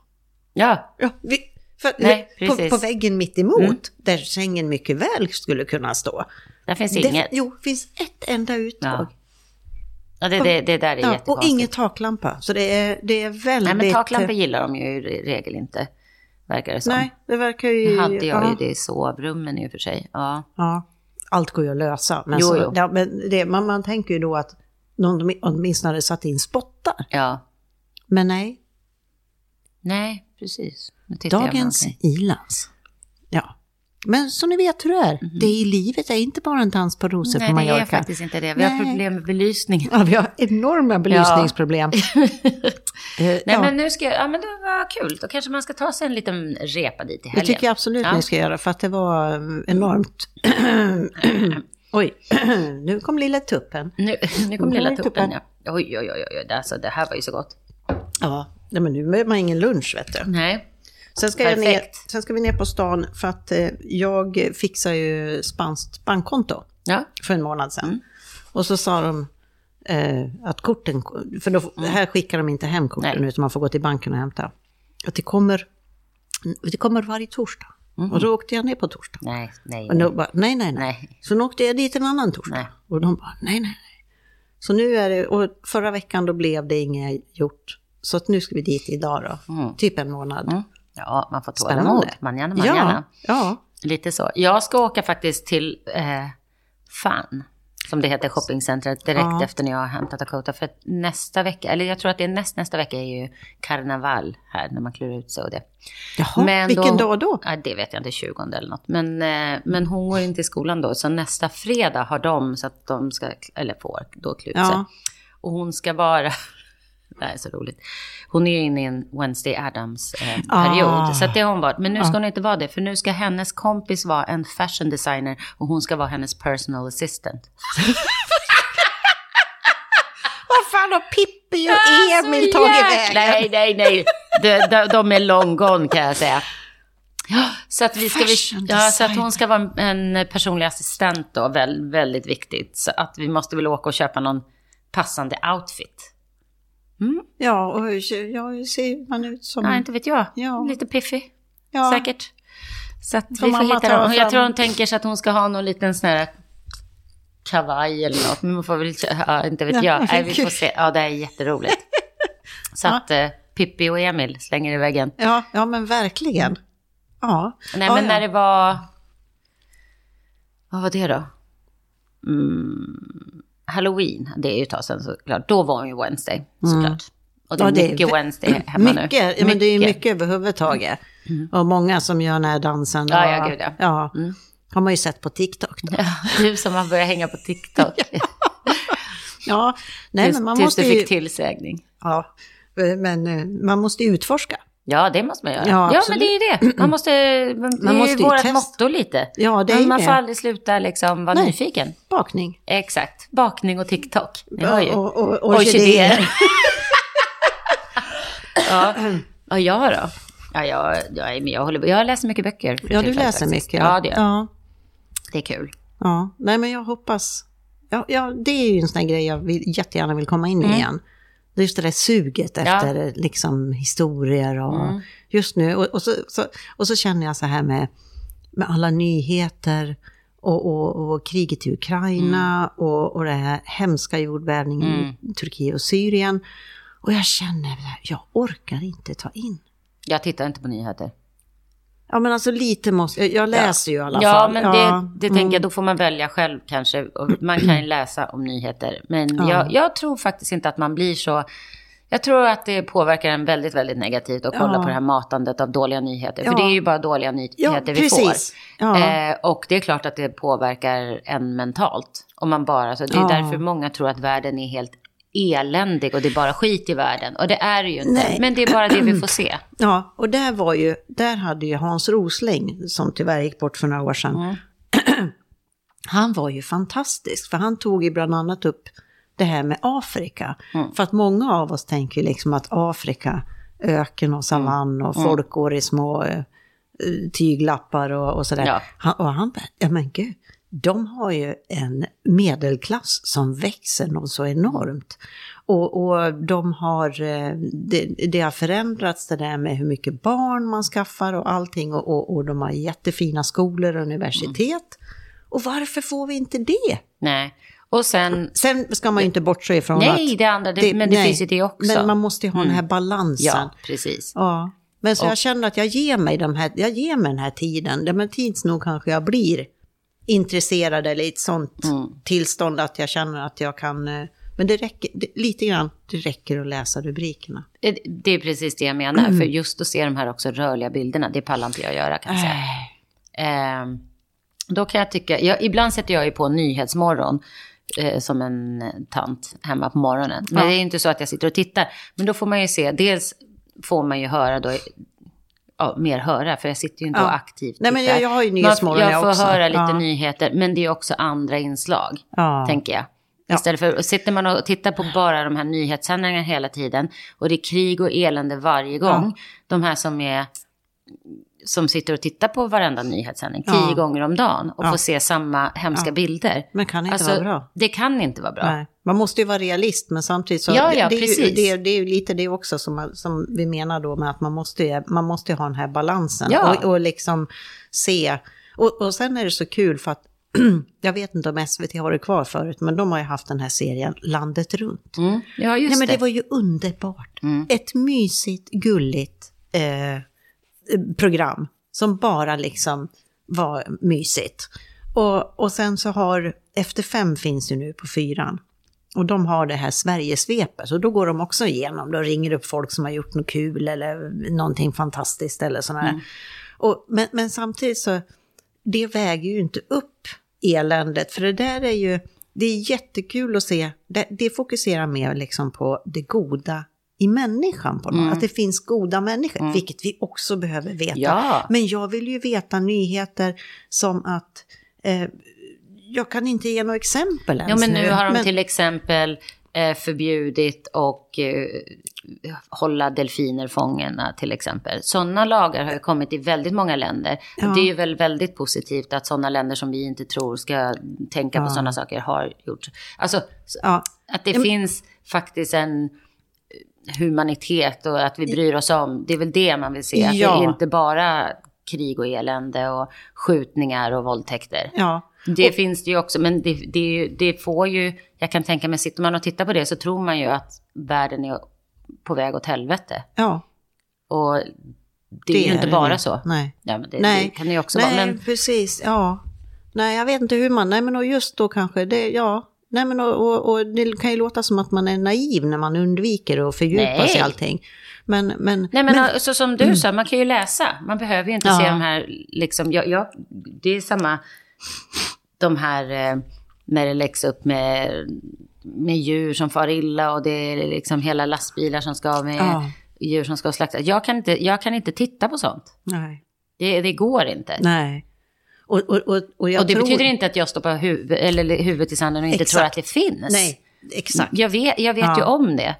Ja, Ja, vi, för, Nej, på, precis. Mm. på väggen mitt emot där sängen mycket väl skulle kunna stå. där finns Det, inget. jo, finns ett enda uttag. Ja, Ja, det, det, det där är Ja, och jättekonstigt. ingen taklampa. Så det är, det är väldigt... Nej, men taklampor gillar de ju i regel inte, verkar det som. Nej, det verkar ju... Nu hade jag ja, ju det i sovrummen i och för sig. Ja. Ja, allt går ju att lösa. Men, Jo, så, jo. Ja, men det, man, man tänker ju då att någon åtminstone satt in spottar. ja. Men nej, Nej, precis. Nu tittar jag Dagens på någonting. Ilans. Ja. Men som ni vet hur det är, det i livet är inte bara en dans på rosor på Mhm. Nej, det Mallorca. är faktiskt inte det. Vi har Nej. problem med belysningen. Ja, vi har enorma <laughs> belysningsproblem. Eh, Nej, Nej, ja, men nu ska jag... Ja, men det var kul. Då kanske man ska ta sig en liten repa dit i Det helgen. tycker jag absolut Ja. ni ska göra, för att det var mm, enormt... <clears throat> Oj, <clears throat> nu kom lilla tuppen. Nu, nu kom Nu lilla kommer tuppen. Mm, tuppen. Ja. Oj, oj, oj, oj. Alltså, det här var ju så gott. Ja, nej, men nu behöver man ingen lunch vet du. Nej. Sen ska, jag ner, Perfekt. sen ska vi ner på stan för att eh, jag fixar ju spanskt bankkonto. Ja. för en månad sedan. Mm. Och så sa de eh, att korten, för då, här skickar de inte hem korten Mm. Nej. utan man får gå till banken och hämta. Att det kommer, det kommer varje torsdag. Mm. Och då åkte jag ner på torsdag. Nej, nej. Och då bara, nej, nej, nej. Nej. Så nu åkte jag dit en annan torsdag. Nej. Och de bara, nej, nej, nej. Så nu är det, och förra veckan då blev det inget gjort. Så att nu ska vi dit idag då, typ en månad. Mm. Ja, man får tålamod. Spännande. Manjana, ja, manjana. ja, Lite så. Jag ska åka faktiskt till eh, Fan, som det heter, shoppingcentret, direkt Ja. efter när jag har hämtat Dakota. För att nästa vecka, eller jag tror att det är näst, nästa vecka, är ju karneval här, när man klär ut sig och det. Jaha, vilken dag då? Ja, det vet jag inte, 20 eller något. Men, eh, men hon går inte i skolan då, så nästa fredag har de, så att de ska, eller får, då klä ut sig. Ja. Och hon ska vara... <laughs> Det här är så roligt. Hon är ju inne i en Wednesday Addams-period. Ah. Så att det har hon varit. Men nu ska hon inte vara det. För nu ska hennes kompis vara en fashion designer och hon ska vara hennes personal assistant. Vad fan har Pippi och Emil Alltså, tagit jäkla- vägen? Nej, nej, nej. De, de, de är long gone kan jag säga. Ja, Så att, vi ska, vi, Fashion ja, så att designer. hon ska vara en en personlig assistent då, väl, väldigt viktigt. Så att vi måste väl åka och köpa någon passande outfit. Ja, och hur ser- ja, hur ser man ut som... Ja, inte vet jag. Mm. Ja. Lite piffig. Ja. Säkert. Så att vi Får får mamma hitta ta dem. fram- Jag tror hon tänker sig att hon ska ha någon liten sån här kavaj eller något. Men man får väl, ja, inte vet Nej, jag. Nej, vi herregud. får se. Ja, det här är <laughs> jätteroligt. Så att eh, Pippi och Emil slänger i väggen. Ja, ja men verkligen. Ja. Nej, ja, men Ah, ja. när det var... Vad var det då? Mm, Halloween, det är ju ett tag sedan såklart. Då var hon ju Wednesday, såklart. Och det är Mm. Ja, det är mycket vä- Wednesday <clears throat> hemma nu. Mm. Mycket, Ja, men det är mycket överhuvudtaget. Och många som gör den här dansen. Och, Ja, ja, Mm. gud, ja. har man ju sett på TikTok. Då. <laughs> Du som har börjat hänga på <laughs> TikTok. Ja, nej, tills men man tills måste du fick ju, tillsägning. ja, men eh, man måste ju utforska. Ja, det måste man göra. Ja, Ja, men absolut. det är ju det. Man måste, <clears throat> det är måste ju ju vårt testa. motto lite. Ja, det är men ju man det. får aldrig sluta liksom vara Nej. nyfiken. Bakning. Exakt. Bakning och TikTok. Ni hör ju. Och, och, och orkidéer. <laughs> ja. Och jag då? Ja, jag, jag, är- men jag, håller, jag läser mycket böcker. Ja, du tillfället läser faktiskt. mycket. Ja, det, gör jag. ja. det är kul. Ja, nej men jag hoppas. Ja, ja, det är ju en sån här grej jag vill, jättegärna vill komma in i Mm. igen. Det är just det där suget efter liksom, historier och Mm. just nu. Och, och, så, så, och så känner jag så här med, med alla nyheter och, och, och kriget i Ukraina Mm. och, och den här hemska jordbävningen i Turkiet och Syrien. Och jag känner, det här, jag orkar inte ta in. Jag tittar inte på nyheter. Ja men alltså lite måste, jag, jag läser ju i alla Ja, fall. men det, det tänker mm. jag, då får man välja själv kanske. Och Man kan ju läsa om nyheter. Men jag, jag tror faktiskt inte att man blir så... Jag tror att det påverkar en väldigt, väldigt negativt att kolla Ja. på det här matandet av dåliga nyheter. För Ja. det är ju bara dåliga nyheter vi precis. får. Ja. Eh, och det är klart att det påverkar en mentalt. Om man bara, så det är Ja. därför många tror att världen är helt eländig och det är bara skit i världen. Och det är det ju inte. Nej. Men det är bara det vi <clears throat> får se. Ja, och där var ju, där hade ju Hans Rosling, som tyvärr gick bort för några år sedan, <clears throat> han var ju fantastisk, för han tog ju bland annat upp det här med Afrika. För att många av oss tänker ju liksom att Afrika, öken och savann och folk går i små eh, tyglappar och, och sådär. Ja. Han, och han bara, ja men gud, de har ju en medelklass som växer något så enormt. Och, och de har, eh, det, det har förändrats det där med hur mycket barn man skaffar och allting och, och, och de har jättefina skolor och universitet. Mm. Och varför får vi inte det? Nej. Och sen Sen ska man ju inte bortse ifrån att... Nej, det andra, det, men det nej. finns ju det också. Mm. Men man måste ju ha den här balansen. Ja, precis. Ja. Men så jag känner att jag ger mig, de här, jag ger mig den här tiden. Ja, Men tids nog kanske jag blir intresserad eller i ett sånt tillstånd att jag känner att jag kan... eh, Men det räcker, det, lite grann, det räcker att läsa rubrikerna. Eh, Det är precis det jag menar. För Mm. just att se de här också rörliga bilderna, det pallar inte jag göra kan jag säga. Ehm, då kan jag tycka, jag, ibland sätter jag ju på Nyhetsmorgon eh, som en tant hemma på morgonen. Men Ja. det är inte så att jag sitter och tittar. Men då får man ju se, dels får man ju höra då, ja, mer höra, för jag sitter ju inte Ja. och aktivt Nej, men tittar. jag- jag har ju Man- Nyhetsmorgon Jag jag får också. höra lite Ja. nyheter, men det är också andra inslag Ja. tänker jag. Ja. Istället för, sitter man och tittar på bara de här nyhetssändningarna hela tiden och det är krig och elände varje gång. De här som är som sitter och tittar på varenda nyhetssändning Ja. tio gånger om dagen och Ja. får se samma hemska bilder. Alltså, Men kan inte vara bra. Det kan inte vara bra. Nej. Man måste ju vara realist, men samtidigt så... Ja, ja, det, är ju, precis. det, är- det är ju lite det också som, man- som vi menar då med att man måste, ju- man måste ju ha den här balansen. Ja. Och, och liksom se... Och, och sen är det så kul för att... <clears throat> jag vet inte om SVT har det kvar förut, men de har ju haft den här serien Landet runt. Mm. Ja, just Nej, men det. Mm. det var ju underbart. Ett mysigt, gulligt eh, program som bara liksom var mysigt. Och, och sen så har, Efter fem finns ju nu på fyran. Och de har det här Sverigesvepet, så då går de också igenom. De ringer upp folk som har gjort något kul eller någonting fantastiskt eller sådär. Mm. Och, men, men samtidigt så, det väger ju inte upp eländet, för det där är ju, det är jättekul att se, det, det fokuserar mer liksom på det goda i människan, på något. Mm. att det finns goda människor, vilket vi också behöver veta. Ja. Men jag vill ju veta nyheter som att, eh, jag kan inte ge några exempel ens Ja, men nu har de men- till exempel eh, förbjudit och eh, hålla delfiner fångna till exempel. Sådana lagar har ju kommit i väldigt många länder. Ja. Det är ju väl väldigt positivt att sådana länder som vi inte tror ska tänka på sådana saker har gjort. Alltså s- ja. att det finns faktiskt en humanitet och att vi bryr oss om. Det är väl det man vill se. Att Ja. det är inte bara krig och elände och skjutningar och våldtäkter. ja. Det finns det ju också, men det, det, är ju- det får ju... Jag kan tänka mig, sitter man och tittar på det så tror man ju att världen är på väg åt helvete. Ja, Och det, är ju inte bara det. så. Nej. Ja, men det, Nej. det kan det ju också Nej, vara. Men, precis. Ja. Nej, jag vet inte hur man... Nej, men och just då kanske det... Ja. Nej, men och, och, och det kan ju låta som att man är naiv när man undviker att fördjupa Nej. sig i allting. Men, men, Mm. nej, men, så som du sa, man kan ju läsa. Man behöver ju inte Ja. se de här... Liksom, jag, jag, det är samma... De här... eh, När det läggs upp med, med djur som far illa och det är liksom hela lastbilar som ska av med... Ja. djur som ska slaktas. Jag kan inte, jag kan inte titta på sånt. Nej. Det, det går inte. Nej. Och, och, och, och jag Och det tror... betyder inte att jag stoppar huv eller huvudet i sanden och inte Exakt. tror att det finns. Nej, exakt. Jag vet, jag vet Ja. ju om det.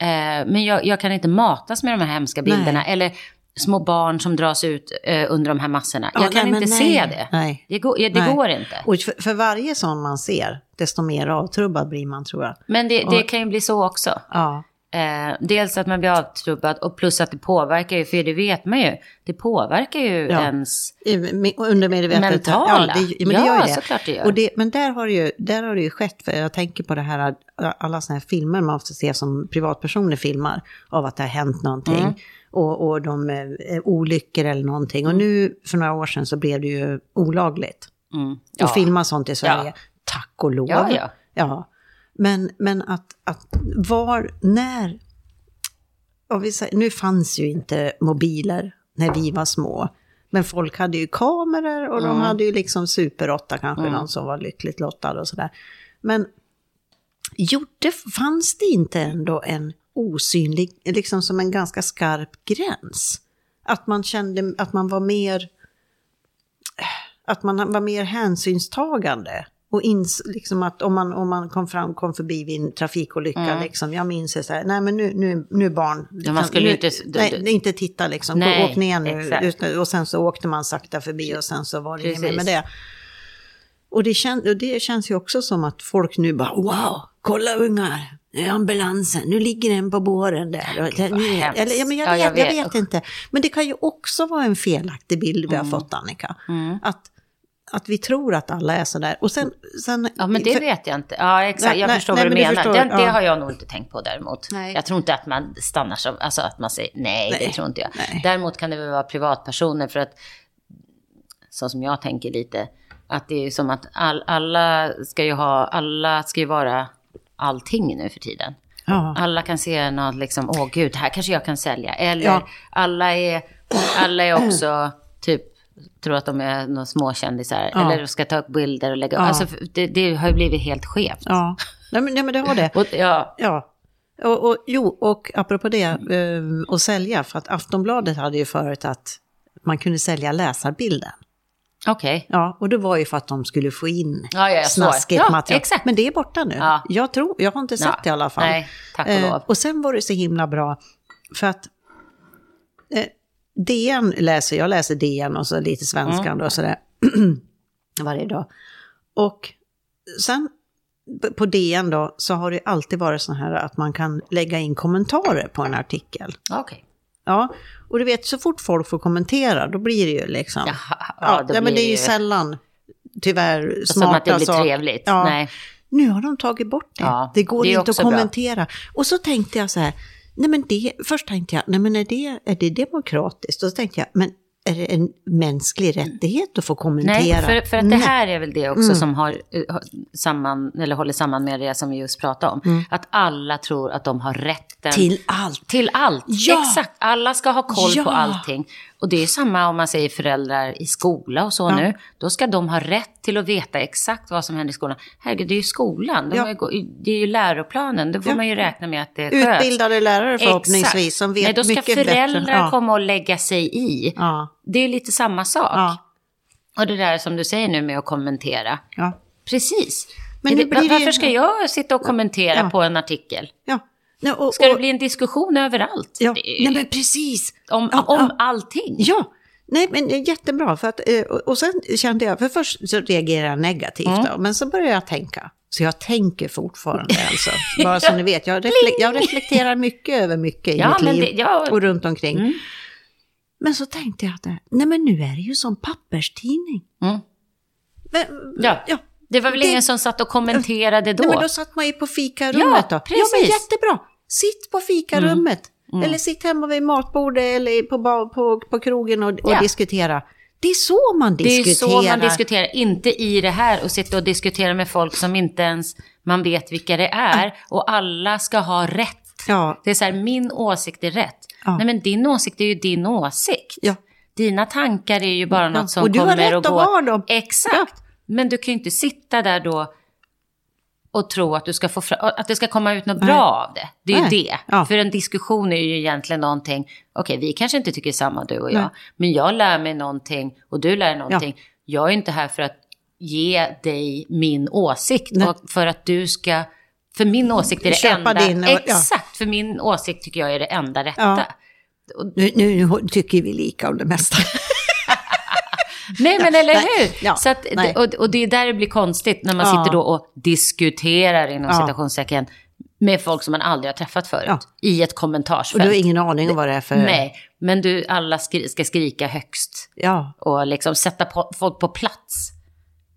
Eh, men jag, jag kan inte matas med de här hemska bilderna. Eller små barn som dras ut eh, under de här massorna. Ja, jag kan nej, men inte nej. se det. Nej. Det, går, det Nej. går inte. Och för, för varje sån man ser, desto mer avtrubbad blir man tror jag. Men det, det kan ju bli så också. Ja, Eh, dels att man blir avtrubbad och plus att det påverkar ju, för det vet man ju, det påverkar ju Ja. ens... I- me- undermedvetet. Mentala. Ja, det, men det Ja, gör ju det. såklart det gör. Och det men där har, det ju, där har det ju skett, för jag tänker på det här, alla sådana här filmer man ofta ser som privatpersoner filmar, av att det har hänt någonting. Mm. Och, och de eh, olyckor eller någonting. Och nu för några år sedan så blev det ju olagligt Mm, att filma sånt i Sverige. Tack och lov. Ja, ja. Ja. Men, men att, att var, när, om vi säger, nu fanns ju inte mobiler när vi var små. Men folk hade ju kameror och de hade ju liksom Super 8 kanske, Mm. någon som var lyckligt lottad och sådär. Men gjorde, fanns det inte ändå en osynlig, liksom som en ganska skarp gräns? Att man kände att man var mer, att man var mer hänsynstagande. Och ins, liksom att om man, om man kom fram, kom förbi vid en trafikolycka, Mm. liksom, jag minns det så här, nej men nu, nu, nu barn, liksom, skulle ju nu, inte- du- nej, du- nej, inte titta liksom, Nej, åk ner nu. exakt. Utan- Och sen så åkte man sakta förbi och sen så var det inget mer med Precis. det. Och det, kän, och det känns ju också som att folk nu bara, wow, kolla ungar, det är ambulansen, nu ligger den på båren där. Och det- vad nu- hemskt. Eller, ja, men jag, Ja, vet, jag, jag vet. vet. Mm. inte. Men det kan ju också vara en felaktig bild vi har fått, Annika. Att, att vi tror att alla är sådär. Och sen... sen Ja, men det för- vet jag inte. Ja, exakt. Nej, jag nej, förstår nej, vad du men du menar. förstår, Den, Det ja. har jag nog inte tänkt på däremot. Nej. Jag tror inte att man stannar som, alltså att man säger nej, Nej, det tror inte jag. nej. Däremot kan det väl vara privatpersoner för att, så som jag tänker lite, att det är ju som att all, alla ska ju ha, alla ska ju vara allting nu för tiden. Ja. Alla kan se något liksom, åh gud, här kanske jag kan sälja. Eller Ja. alla, är, alla är också typ, tror att de är några småkändisar. Ja. Eller ska ta upp bilder och lägga Ja. Alltså det, det har ju blivit helt skevt. ja. Nej, men, nej, men det har det. Och, ja, Ja. Och, och, jo, och apropå det, eh, Mm. och sälja, för att Aftonbladet hade ju förut att man kunde sälja läsarbilden. okej. Ja, och det var ju för att de skulle få in Ja, ja, jag förstår. snaskigt Ja, material. exakt. Men det är borta nu. Ja. Jag, tror, jag har inte sett Ja, det i alla fall. Eh, nej, tack och lov. och sen var det så himla bra, för att eh, DN läser, jag läser DN och så lite svenskan Mm. då och sådär <clears throat> varje dag. Och sen b- på DN då så har det ju alltid varit så här att man kan lägga in kommentarer på en artikel. Okej. Ja, och du vet så fort folk får kommentera då blir det ju liksom... Jaha, Ja, då ja men blir Alltså, det är ju sällan tyvärr Som att det smarta blir saker. trevligt. Ja. Nej. Nu har de tagit bort det. Ja, det går det är inte att också bra. kommentera. Och så tänkte jag så här, nej men det, först tänkte jag, nej men är det, är det demokratiskt? Och så tänkte jag, men är det en mänsklig rättighet att få kommentera? Nej, för, för att det Nej. här är väl det också Mm. som har, eh, har samman, eller håller samman med det som vi just pratade om. Att alla tror att de har rätten Mm. Till allt. Till allt, Ja. exakt. Alla ska ha koll Ja. på allting. Och det är samma om man säger föräldrar i skola och så nu. Då ska de ha rätt till att veta exakt vad som händer i skolan. Herregud, det är ju skolan. De Ja. har ju, gå- det är ju läroplanen. Då får Ja. man ju räkna med att det sköts. Utbildade lärare förhoppningsvis Exakt. som vet Nej, då ska mycket föräldrar bättre. Ja. komma och lägga sig i. Ja, Det är lite samma sak. ja, Och det där som du säger nu med att kommentera. ja. Precis. Men Det- nu blir det ju- Varför ska jag sitta och kommentera Ja. på en artikel? ja. Nej, och, Ska det och- bli en diskussion överallt? Ja, Det är ju- nej men precis. Om, Ja, om ja. allting? Ja, nej men det är jättebra. För att, eh, och- och sen kände jag, för först så reagerade jag negativt Mm. då, men så började jag tänka. Så jag tänker <laughs> fortfarande alltså. Bara så ni vet, jag, refle- jag reflekterar mycket över mycket i Ja, mitt men liv det- ja. Mm. och runt omkring. Men så tänkte jag att eh, nej men nu är det ju som papperstidning. Mm. Men, Ja. ja. Det var väl Det- ingen som satt och kommenterade då? Nej, men då satt man ju på fikarummet Ja, då. Ja, men precis. Mm. jättebra. Sitt på fikarummet. Eller sitt hemma vid matbordet eller på, ba- på, på krogen och, och Ja. diskutera. Det är så man det är diskuterar. ju så man diskuterar, inte i det här och sitta och diskutera med folk som inte ens man vet vilka det är. Och alla ska ha rätt. Ja, Det är så här, min åsikt är rätt. Ja. Nej men din åsikt är ju din åsikt. ja. Dina tankar är ju bara något som och du har kommer rätt och att går. ha dem. Exakt. Men du kan ju inte sitta där då och tro att, du ska få fra- att det ska komma ut något bra av det. Det är Nej. ju det. Ja. För en diskussion är ju egentligen någonting, okej vi kanske inte tycker samma du och jag, Nej. men jag lär mig någonting och du lär dig någonting. Jag är inte här för att ge dig min åsikt Nej. och för att du ska, för min åsikt är det Köpa enda, din och- ja. exakt, för min åsikt tycker jag är det enda rätta. Ja. Nu, nu nu tycker vi lika om det <laughs> mesta. Nej men eller Nej. hur? Ja. Så att, Nej. och, och det är där det blir konstigt när man Ja. sitter då och diskuterar inom Ja. citationstecken med folk som man aldrig har träffat förut Ja. i ett Och du kommentarsfält. har ingen aning om vad det är för... Nej, men du alla skri ska skrika högst Ja, och liksom sätta på, folk på plats.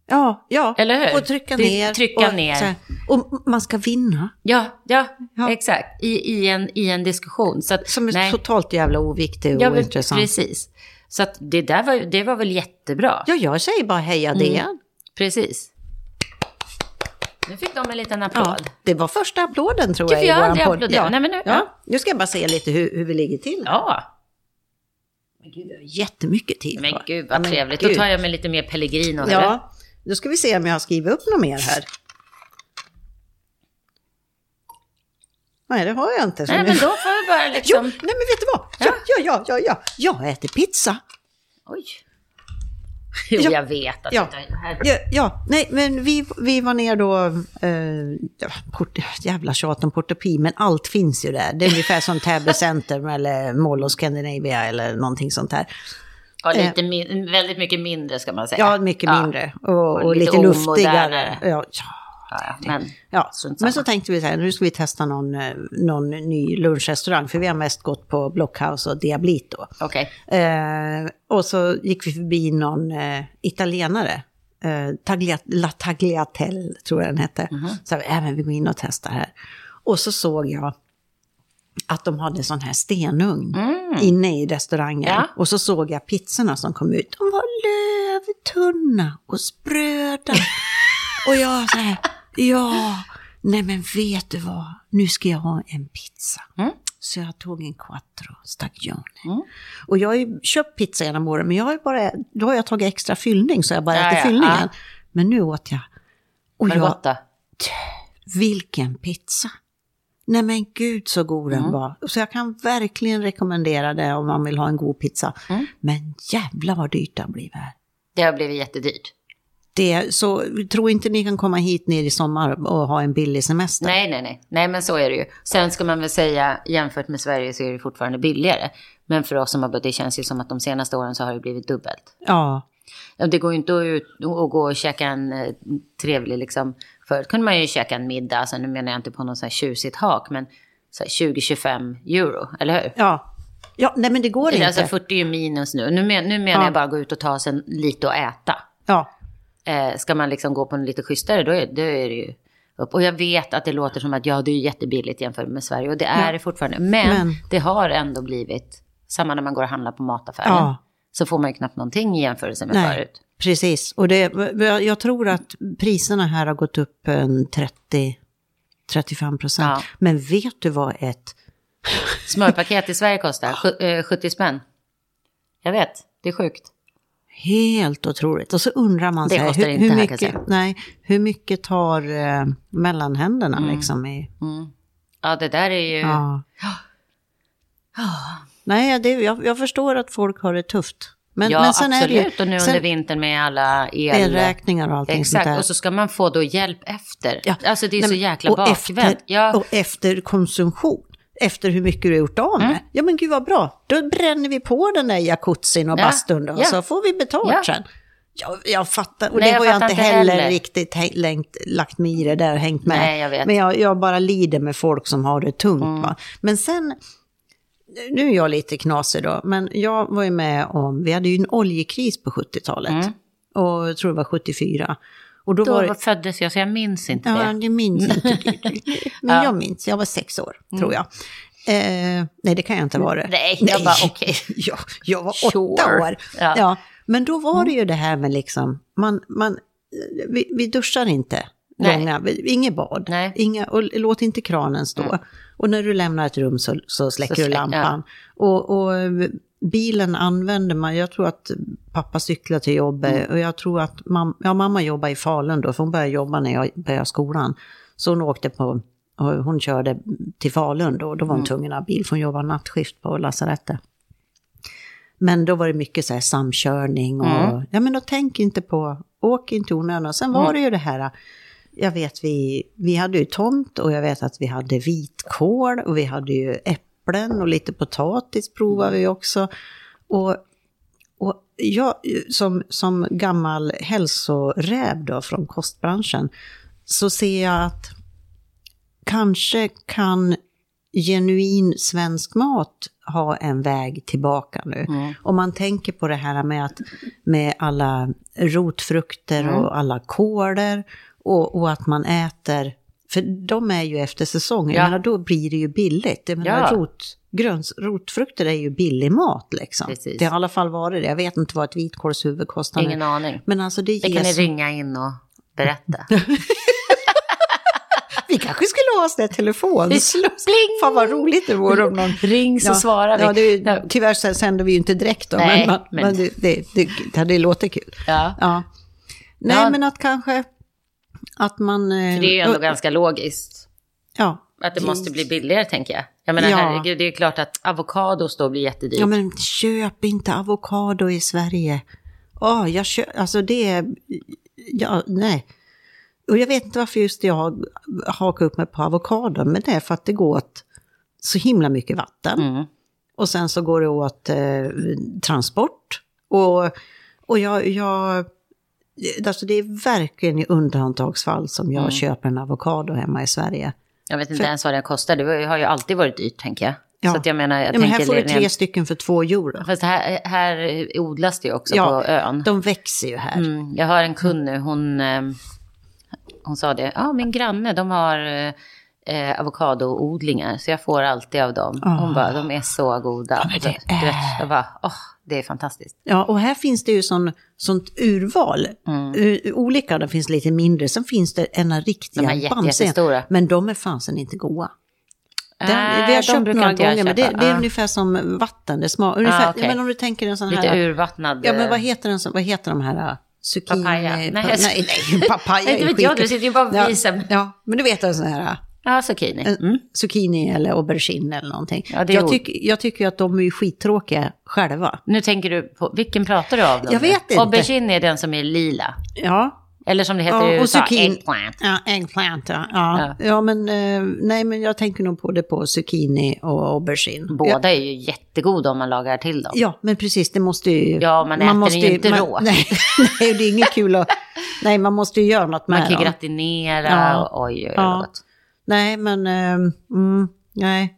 ja, ja. Eller hur? Och trycka Det- ner. trycka och, ner. så här. och man ska vinna. Ja, ja, Ja. exakt. I, i, en, I en diskussion. Så att, Som är nej, totalt jävla oviktig och ja, men ointressant. Precis. Så att det där var, ju- det var väl jättebra. Ja, jag säger bara heja Mm, DN. Precis. Nu fick de en liten Ja, applåd. det var första applåden tror jag Gud, i jag har våran aldrig podd. applåderat. Nej, men nu- ja. nu ska jag bara se lite hur, hur vi ligger till. ja. Jättemycket tid Men kvar. gud Ja, vad men trevligt. Då gud. tar jag med lite mer Pellegrino. eller? Ja, då ska vi se om jag har skrivit upp något mer här. Nej, det har jag inte. så Nej nu- men då får vi <laughs> bara Jo, liksom... nej men vet du vad? Ja, ja, ja, ja, ja. Jag äter pizza. Oj. Jo, Ja. jag vet att Ja. det här... Ja, ja. nej men vi, vi var ner då, eh, ja, port, jävla tjat om portopi, men allt finns ju där. Det är ungefär som Täby Centrum eller Mall of Scandinavia eller någonting sånt här. Ja, lite min... väldigt mycket mindre ska man säga. Eh. Ja, mycket mindre och, och lite, lite luftigare. omodernare. Ja, ja. Ja, men... Ja, Strunt samma. men så tänkte vi så här, nu ska vi testa någon, eh, någon ny lunchrestaurang, för vi har mest gått på Blockhouse och Diablito. Okej. Eh, och så gick vi förbi någon eh, italienare, eh, Tagliat- La Tagliatelle tror jag den hette. Så här, även vi går in och testar här. Och så såg jag att de hade sån här stenugn inne i restaurangen. Ja. Och så såg jag pizzorna som kom ut. De var lövtunna och spröda. och jag så här, ja, nej men vet du vad, nu ska jag ha en pizza. Mm. Så jag tog en quattro stagione. Och jag har ju köpt pizza genom åren, men jag har ju bara, då har jag tagit extra fyllning så jag bara Ja, äter ja, fyllningen. ja. Men nu åt jag. Och Var det jag, gott då? vilken pizza! Nej men gud så god Mm. den var. Så jag kan verkligen rekommendera det om man vill ha en god pizza. Mm. Men jävla vad dyrt det har blivit här. Det har blivit jättedyrt. Det, så tro inte ni kan komma hit ner i sommar och ha en billig semester. Nej, nej, nej. Nej, men så är det ju. Sen ska man väl säga, jämfört med Sverige så är det fortfarande billigare. Men för oss som har bott, det känns ju som att de senaste åren så har det blivit dubbelt. Ja, Ja, Det går ju inte att ut och gå och käka en eh, trevlig, liksom. Förut kunde man ju käka en middag, alltså, nu menar jag inte på något så här tjusigt hak, men så här 20-25 euro, eller hur? ja. ja nej men det går Eller, inte. alltså 40 är ju minus nu. Nu, men, nu menar Ja. jag bara gå ut och ta sig en- lite och äta. Ja. Eh, ska man liksom gå på en lite schysstare, då är, då är det ju upp. Och jag vet att det låter som att ja, det är ju jättebilligt jämfört med Sverige, och det är Ja. det fortfarande. Men, Men- det har ändå blivit, samma när man går och handlar på mataffären, Ja. så får man ju knappt någonting i jämförelse med Nej. förut. Precis, och det, jag jag tror att priserna här har gått upp en 30-35 procent. Ja. Men vet du vad ett... Smörpaket i Sverige kostar sju- eh, 70 spänn. Jag vet, det är sjukt. Helt otroligt. Och så undrar man Det sig, kostar hur, inte hur, här, kan jag mycket, säga. nej, hur mycket tar eh, mellanhänderna Mm. liksom i... Ja, det där är ju... Ja. Nej, det, jag, jag förstår att folk har det tufft. Men, ja, men sen absolut. är det och nu under sen, vintern med alla el... elräkningar och allting sånt där. Exakt, och så ska man få då hjälp efter. Ja. Alltså det är Nej, så men- jäkla och bakvänt. Efter, Ja, Och efter konsumtion, efter hur mycket du har gjort av med. Mm. Ja men gud vad bra, då bränner vi på den där jacuzzin och Ja, bastun då, ja. så får vi betalt Ja. sen. Jag, jag fattar, och Nej, det jag har jag, fattar inte inte heller, heller. riktigt hä- längt, lagt mig i det där och hängt med. Nej, jag vet. Mm. Men jag, jag bara lider med folk som har det tungt. Va? Men sen, nu är jag lite knasig då, men jag var ju med om, vi hade ju en oljekris på Mm. 70-talet. Och jag tror det var 74. Och då, då var det, föddes jag, så jag minns inte Ja, det. det minns <laughs> jag inte. Men jag minns, jag var sex år, tror jag. Eh, nej, det kan jag inte ha varit. Mm. Nej, jag bara, <laughs> okej. jag, jag var åtta Sure. år. Ja. Mm. Ja. men då var det ju det här med liksom, man, man, vi, vi duschar inte. Nej. Långa, vi- inget bad, Nej. Mm. Inga, och låt inte kranen stå. Och när du lämnar ett rum så, så släcker Så du slä- lampan. Och, och bilen använder man, jag tror att pappa cyklar till jobbet och jag tror att mam, ja, mamma jobbar i Falun då, för hon började jobba när jag började skolan. Så hon åkte på, och hon körde till Falun då, då var hon tvungen att ha bil för hon jobbade nattskift på lasarettet. Men då var det mycket så här samkörning och, ja men då tänk inte på, åk inte i onödan. Och sen var det ju det här, jag vet vi, vi hade ju tomt och jag vet att vi hade vitkål och vi hade ju äpplen och lite potatis provade vi också. Och, och jag som, som gammal hälsoräv då från kostbranschen så ser jag att kanske kan genuin svensk mat ha en väg tillbaka nu. Mm. Om man tänker på det här med, att, med alla rotfrukter Mm. och alla kåler och, och att man äter, för de är ju efter säsong, Ja. jag menar, då blir det ju billigt. Jag menar, Ja. rot, gröns, rotfrukter är ju billig mat liksom. Precis. Det har i alla fall varit det. Jag vet inte vad ett vitkålshuvud kostar nu. Ingen aning. Men alltså det, Det kan ni ges... ringa in och <laughs> berätta. Vi kanske skulle ha oss där telefon. <laughs> Vi slår- Pling! Fan vad roligt det vore om någon... Ring så svarar vi. Ja, det, Ja. är- tyvärr så sänder vi ju inte direkt då, Nej, men, man, men- men... det, det, det, det hade ju låtit kul. Ja. Ja. Nej, Ja. men att kanske att man... eh, För det är ju ändå och- ganska logiskt. Ja. Att det måste bli billigare tänker jag. Jag menar Ja. herregud, det är ju klart att avokados då blir jättedyrt. ja, men köp inte avokado i Sverige. Åh, jag köp, alltså det är... Ja, nej. Och jag vet inte varför just jag har hakat upp mig på avokado, men det är för att det går åt så himla mycket vatten. mm. Och sen så går det åt eh, transport. Och, och jag, jag... Alltså det är verkligen i undantagsfall som jag Mm. köper en avokado hemma i Sverige. Jag vet inte ens vad den kostar, det har ju alltid varit dyrt tänker jag. Ja. Så att jag menar, jag Ja, men tänker... här får du det är tre rent- stycken för två euro. Fast här, här odlas det ju också Ja. på ön. De växer ju här. Mm, jag har en kund nu, hon, ehm, hon sa det, ja min granne de har eh, eh, avokadoodlingar så jag får alltid av dem. Hon Ah. bara, de är så goda. men det Du vet, är- Jag bara, åh, det är fantastiskt. Ja, och här finns det ju sån, sånt urval. Mm. U- Olika, det finns lite mindre. Sen finns det ena riktiga De här jätte- bamsen. jättestora. Men de är fasen inte goda. Den, Nej, vi har de köpt brukar några inte jag gånger, men det, köpa. det är Ah. ungefär som vatten. Det smak, ungefär, okej. men om du tänker en sån här... Lite urvattnad. Ja, men vad eh, heter, den, som- vad heter de här? äh, Zucchini? Papaya. Nej, Nej, nej, nej <laughs> papaya Nej, det är vet jag, skit- du sitter ju bara och visar ja, mig. ja, men du vet en sån här äh, eh, Ja, zucchini. en Mm. zucchini eller aubergine eller någonting. Ja, det är jag, o- tycker- jag tycker ju att de är ju skittråkiga själva. Nu tänker du på, vilken pratar du av? dem Jag nu? vet inte. Aubergine är den som är lila. Ja, Eller som det heter Ja, i och USA, zucchini. eggplant. ja eggplant ja. Ja, ja. men, eh, nej, men jag tänker nog på det på zucchini och aubergine. Båda Ja, är ju jättegoda om man lagar till dem. ja, men precis, det måste ju... Ja, man äter den ju inte rå. <laughs> Nej, nej, det är inget kul att... Nej, man måste ju göra något med man kan ju dem. gratinera Ja. och oj, oj, oj. Ja. vad gott. Nej, men... ehm, mm, nej.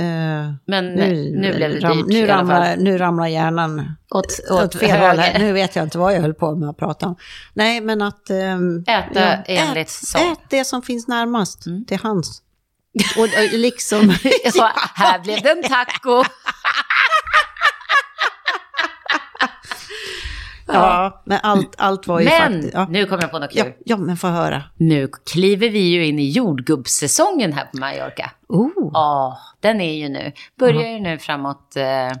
Eh, Men nu, blev det ram- dyrt nu, i alla fall. ramlar, nu ramlar hjärnan Åt, åt, åt fel håll. här. höger. Nu vet jag inte vad jag höll på med att prata om. Nej, men att... ehm, Äta enligt Mm. ät, sång. ät det som finns närmast till hands. Och, och <laughs> liksom... Jag sa, här blev det <laughs> en taco. ja, men allt, allt var ju Men faktiskt... Ja, nu kom jag på något ja, kul. ja, men få höra. Nu kliver vi ju in i jordgubbssäsongen här på Mallorca. Oh, Ja, den är ju nu. Börjar ju nu framåt eh,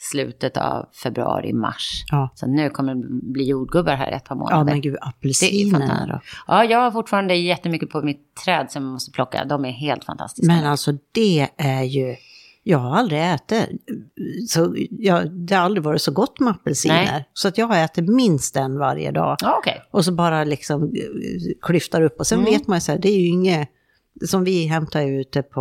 slutet av februari, mars. Ja. Så nu kommer det bli jordgubbar här ett par månader. ja, men gud, apelsiner fantastiskt. då. Ja, jag har fortfarande jättemycket på mitt träd som jag måste plocka. De är helt fantastiska. Men alltså det är ju, jag har aldrig ätit, så jag, det har aldrig varit så gott med apelsiner. Nej. Så att jag har ätit minst en varje dag. Ja, okej. Och så bara liksom eh, klyftar upp. Och sen Mm. vet man ju så här, det är ju inget, som vi hämtar ju ute på,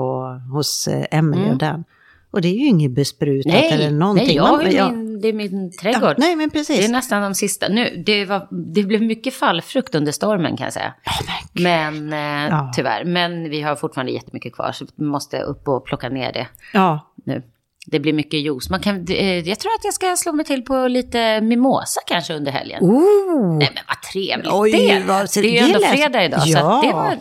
hos eh, Emelie och den. Och det är ju inget besprutat eller Mm. Nej, någonting. nej jag har Man- ju ja. min, det är min Ja, trädgård. nej men precis. Det är nästan de sista. Nu, det, var, det blev mycket fallfrukt under stormen kan jag säga. Men eh, Ja. tyvärr, men vi har fortfarande jättemycket kvar så vi måste upp och plocka ner det Ja, nu. Det blir mycket juice. Man kan, det, eh, jag tror att jag ska slå mig till på lite mimosa kanske under helgen. oh. Nej men vad trevligt Oj, det vad- Det är ju det ändå lät- fredag idag så Ja. att det var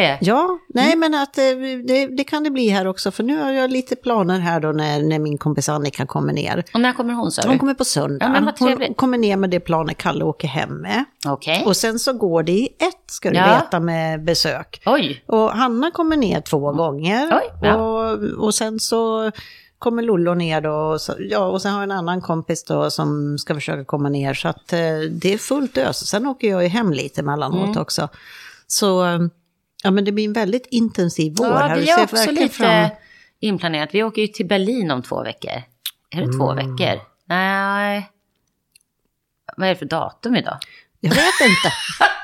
det. Ja, nej Mm. men att eh, det, det kan det bli här också, för nu har jag lite planer här då när, när min kompis Annika kommer ner. Och när kommer hon sa Hon du? kommer på söndag. Ja, men vad hon trevligt. kommer ner med det planet Kalle åker hem med. Okej. Och sen så går det i ett, ska du Ja. veta, med besök. Oj. Och Hanna kommer ner två gånger. Mm. Oj, ja. och, och sen så kommer Lollo ner då. Och, så, ja, och sen har jag en annan kompis då som ska försöka komma ner. Så Mm. att eh, det är fullt ös. Sen åker jag ju hem lite emellanåt också. Så eh, Ja, men det blir en väldigt intensiv vår Ja, här. vi ser har också verkligen lite inplanerat. Vi åker ju till Berlin om två veckor. Är det två Mm. veckor? Nej. Vad är det för datum idag? Jag vet inte.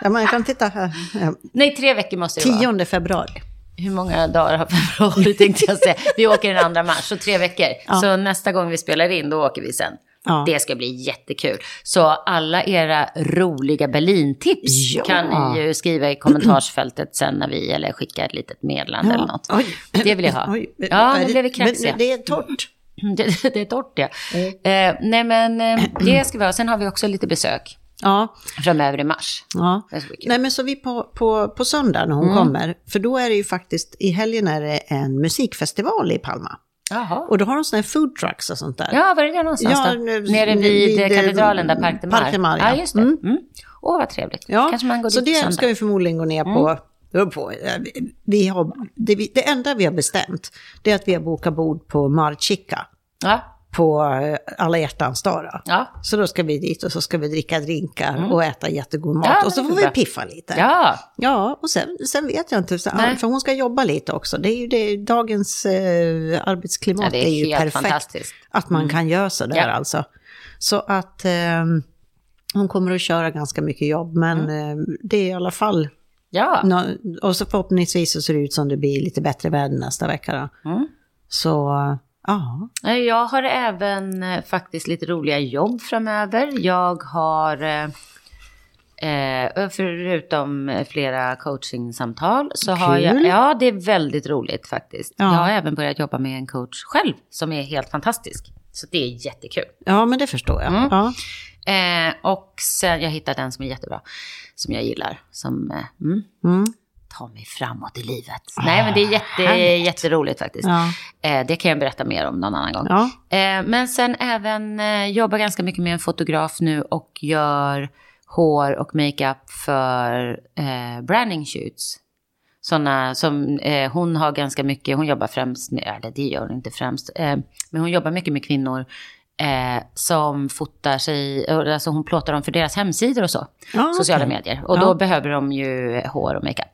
Ja, men jag kan titta här. Ja, Nej, tre veckor måste det vara. 10 februari. Hur många dagar har <laughs> februari tänkte jag säga. Vi åker den andra mars, så tre veckor. Så nästa gång vi spelar in, då åker vi sen. Ja. Det ska bli jättekul. Så alla era roliga Berlin-tips Ja. kan ni ju skriva i kommentarsfältet sen när vi, eller skicka ett litet meddelande eller något. Oj. Det vill jag ha. Oj, ja, är nu det- blev vi kraxiga. Men det är torrt. Mm, Det, <laughs> det är torrt ja. Mm. Eh, nej men eh, det ska vi ha. Sen har vi också lite besök Ja, framöver i mars. ja. Det ska bli kul. Nej, men så vi på, på, på söndag när hon Mm. kommer, för då är det ju faktiskt, i helgen är det en musikfestival i Palma. Jaha. Och då har de sådana här food trucks och sånt där. Ja, var är det någonstans Ja, då? nu- Nere vid, vid, eh, katedralen där, eh, Parc de Mar. Parc de Mar, ja. ja. just det. Mm. Åh, vad trevligt. Ja, Kanske man går så dit på det söndag. Mm. ska vi förmodligen gå ner på. på eh, vi har, det, vi, det enda vi har bestämt, det är att vi har bokat bord på Marchica Ja, på eh, Alla hjärtans dag. då. ja. Så då ska vi dit och så ska vi dricka drinkar och äta jättegod mat. Mm. Ja, men och så det får är vi bra. piffa lite. ja. Ja, och sen, sen vet jag inte, så- Nej. för hon ska jobba lite också. Det är ju det, dagens eh, arbetsklimat Ja, det är ju helt perfekt. fantastiskt. Mm. Att man kan göra sådär Ja. alltså. Så att eh, hon kommer att köra ganska mycket jobb, men eh, det är i alla fall... Mm. ja. nå- och så förhoppningsvis så ser det ut som det blir lite bättre väder nästa vecka då. Mm. Så, ja. Nej, Eh, Jag har även eh, faktiskt lite roliga jobb framöver. Jag har, eh, eh, förutom eh, flera coachingsamtal, så har jag... Kul. Ja, det är väldigt roligt faktiskt. Ja. Jag har även börjat jobba med en coach själv, som är helt fantastisk. Så det är jättekul. Ja, men det förstår jag. Mm. Ja. Eh, och sen, jag har hittat en som är jättebra, som jag gillar, som eh, mm, Mm. tar mig framåt i livet. Nej, men det är jätte, Ah, härligt. jätteroligt faktiskt. Ja. Eh, det kan jag berätta mer om någon annan gång. Ja. Eh, Men sen även eh, jobbar ganska mycket med en fotograf nu och gör hår och makeup för eh, branding shoots. Såna som eh, hon har ganska mycket, hon jobbar främst med, eller det gör hon inte främst, eh, men hon jobbar mycket med kvinnor eh, som fotar sig, eh, alltså hon plåtar dem för deras hemsidor och så, Ja, sociala Ah, okej. medier. Och Ja. då behöver de ju hår och makeup.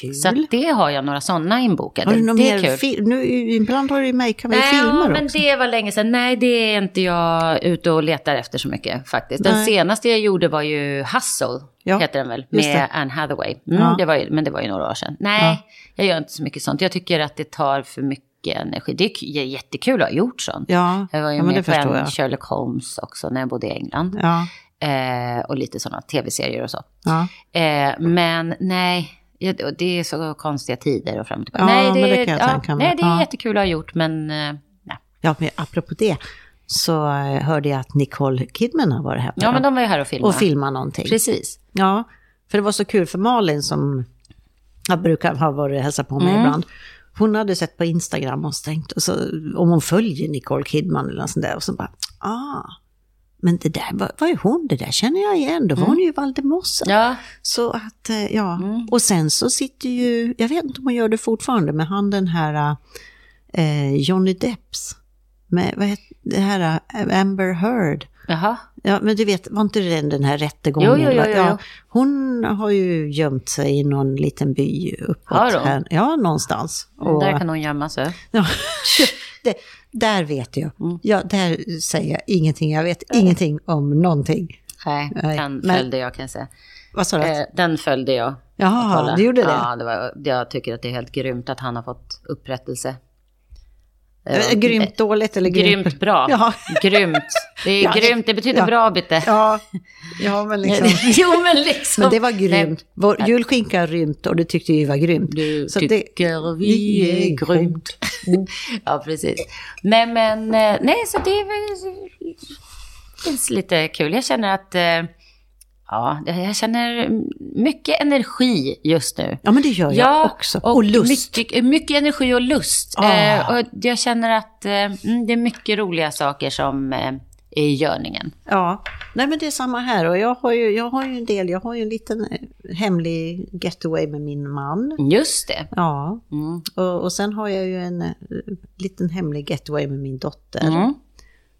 Kul. Så att det har jag några sådana inbokade. Har du någon det är mer kul. fil- nu, Ibland har du ju makeup i filmer men också. det var länge sedan. Nej, det är inte jag ute och letar efter så mycket faktiskt. Den Nej. senaste jag gjorde var ju Hustle, Ja, heter den väl, just med det. Anne Hathaway. Mm, Ja. det var ju, men det var ju några år sedan. Nej, jag gör inte så mycket sånt. Jag tycker att det tar för mycket energi. Det är k- j- jättekul att ha gjort sånt. Ja, Jag var ju ja men det med på förstår en jag. Sherlock Holmes också när jag bodde i England. Ja, Eh, och lite sådana tv-serier och så. ja. Eh, men nej, ja, det är så konstiga tider och fram och tillbaka. Ja, nej, men det kan jag ja, tänka mig. nej, det är Ja. jättekul att ha gjort, men eh, nej. ja, men apropå det så eh, hörde jag att Nicole Kidman har varit här på Ja, men dem de var ju här och filmade. och filmat någonting. Precis. Ja, för det var så kul för Malin som jag brukar ha varit och hälsat på mig ibland. Hon hade sett på Instagram och tänkt, och så, om hon följer Nicole Kidman eller något sånt där, och så bara, ah, men det där, var- vad är hon, det där känner jag igen, då var hon ju i Valdemossa. Ja, Så att, eh, ja. Mm. Och sen så sitter ju, jag vet inte om hon gör det fortfarande, men han den här eh, Johnny Depps, med, vad heter det här, eh, Amber Heard. jaha. Ja, men du vet, var inte det den här rättegången? Jo, jo, jo, jo, jo. Ja, hon har ju gömt sig i någon liten by uppåt Har hon? Mm, här. Ja, någonstans. Och, Där kan hon gömma sig. <laughs> ja, det, där vet jag. Mm. Ja, där säger jag ingenting. Jag vet ingenting om någonting. Nej, Nej, den men- följde jag kan jag säga. Vad sa du? Eh, den följde jag. och Jaha, kollade. du gjorde det? Ja, det var, jag tycker att det är helt grymt att han har fått upprättelse. Eh, Grymt dåligt eller grymt? Grymt bra. Ja. Grymt. Det är Ja, det- grymt, det betyder ja. bra Bitte. Ja, ja men liksom. <laughs> jo, men liksom. Men det var Nej, grymt. Vår julskinka har rymt och det tyckte vi var grymt. Du Så det- tycker vi är grymt. Mm. <laughs> ja, precis. Nej, men eh, nej, så det är väl det känns lite kul. Jag känner att, eh, ja, jag känner mycket energi just nu. Ja, men det gör jag också. Och, lust. Mycket, mycket energi och lust. Ah. Eh, och jag känner att eh, mm, det är mycket roliga saker som eh, är i görningen. Ja, nej men det är samma här. Och jag har ju, jag har ju en del, jag har ju en liten eh, hemlig getaway med min man. Just det. Ja, Mm. och, och sen har jag ju en eh, liten hemlig getaway med min dotter. Mm.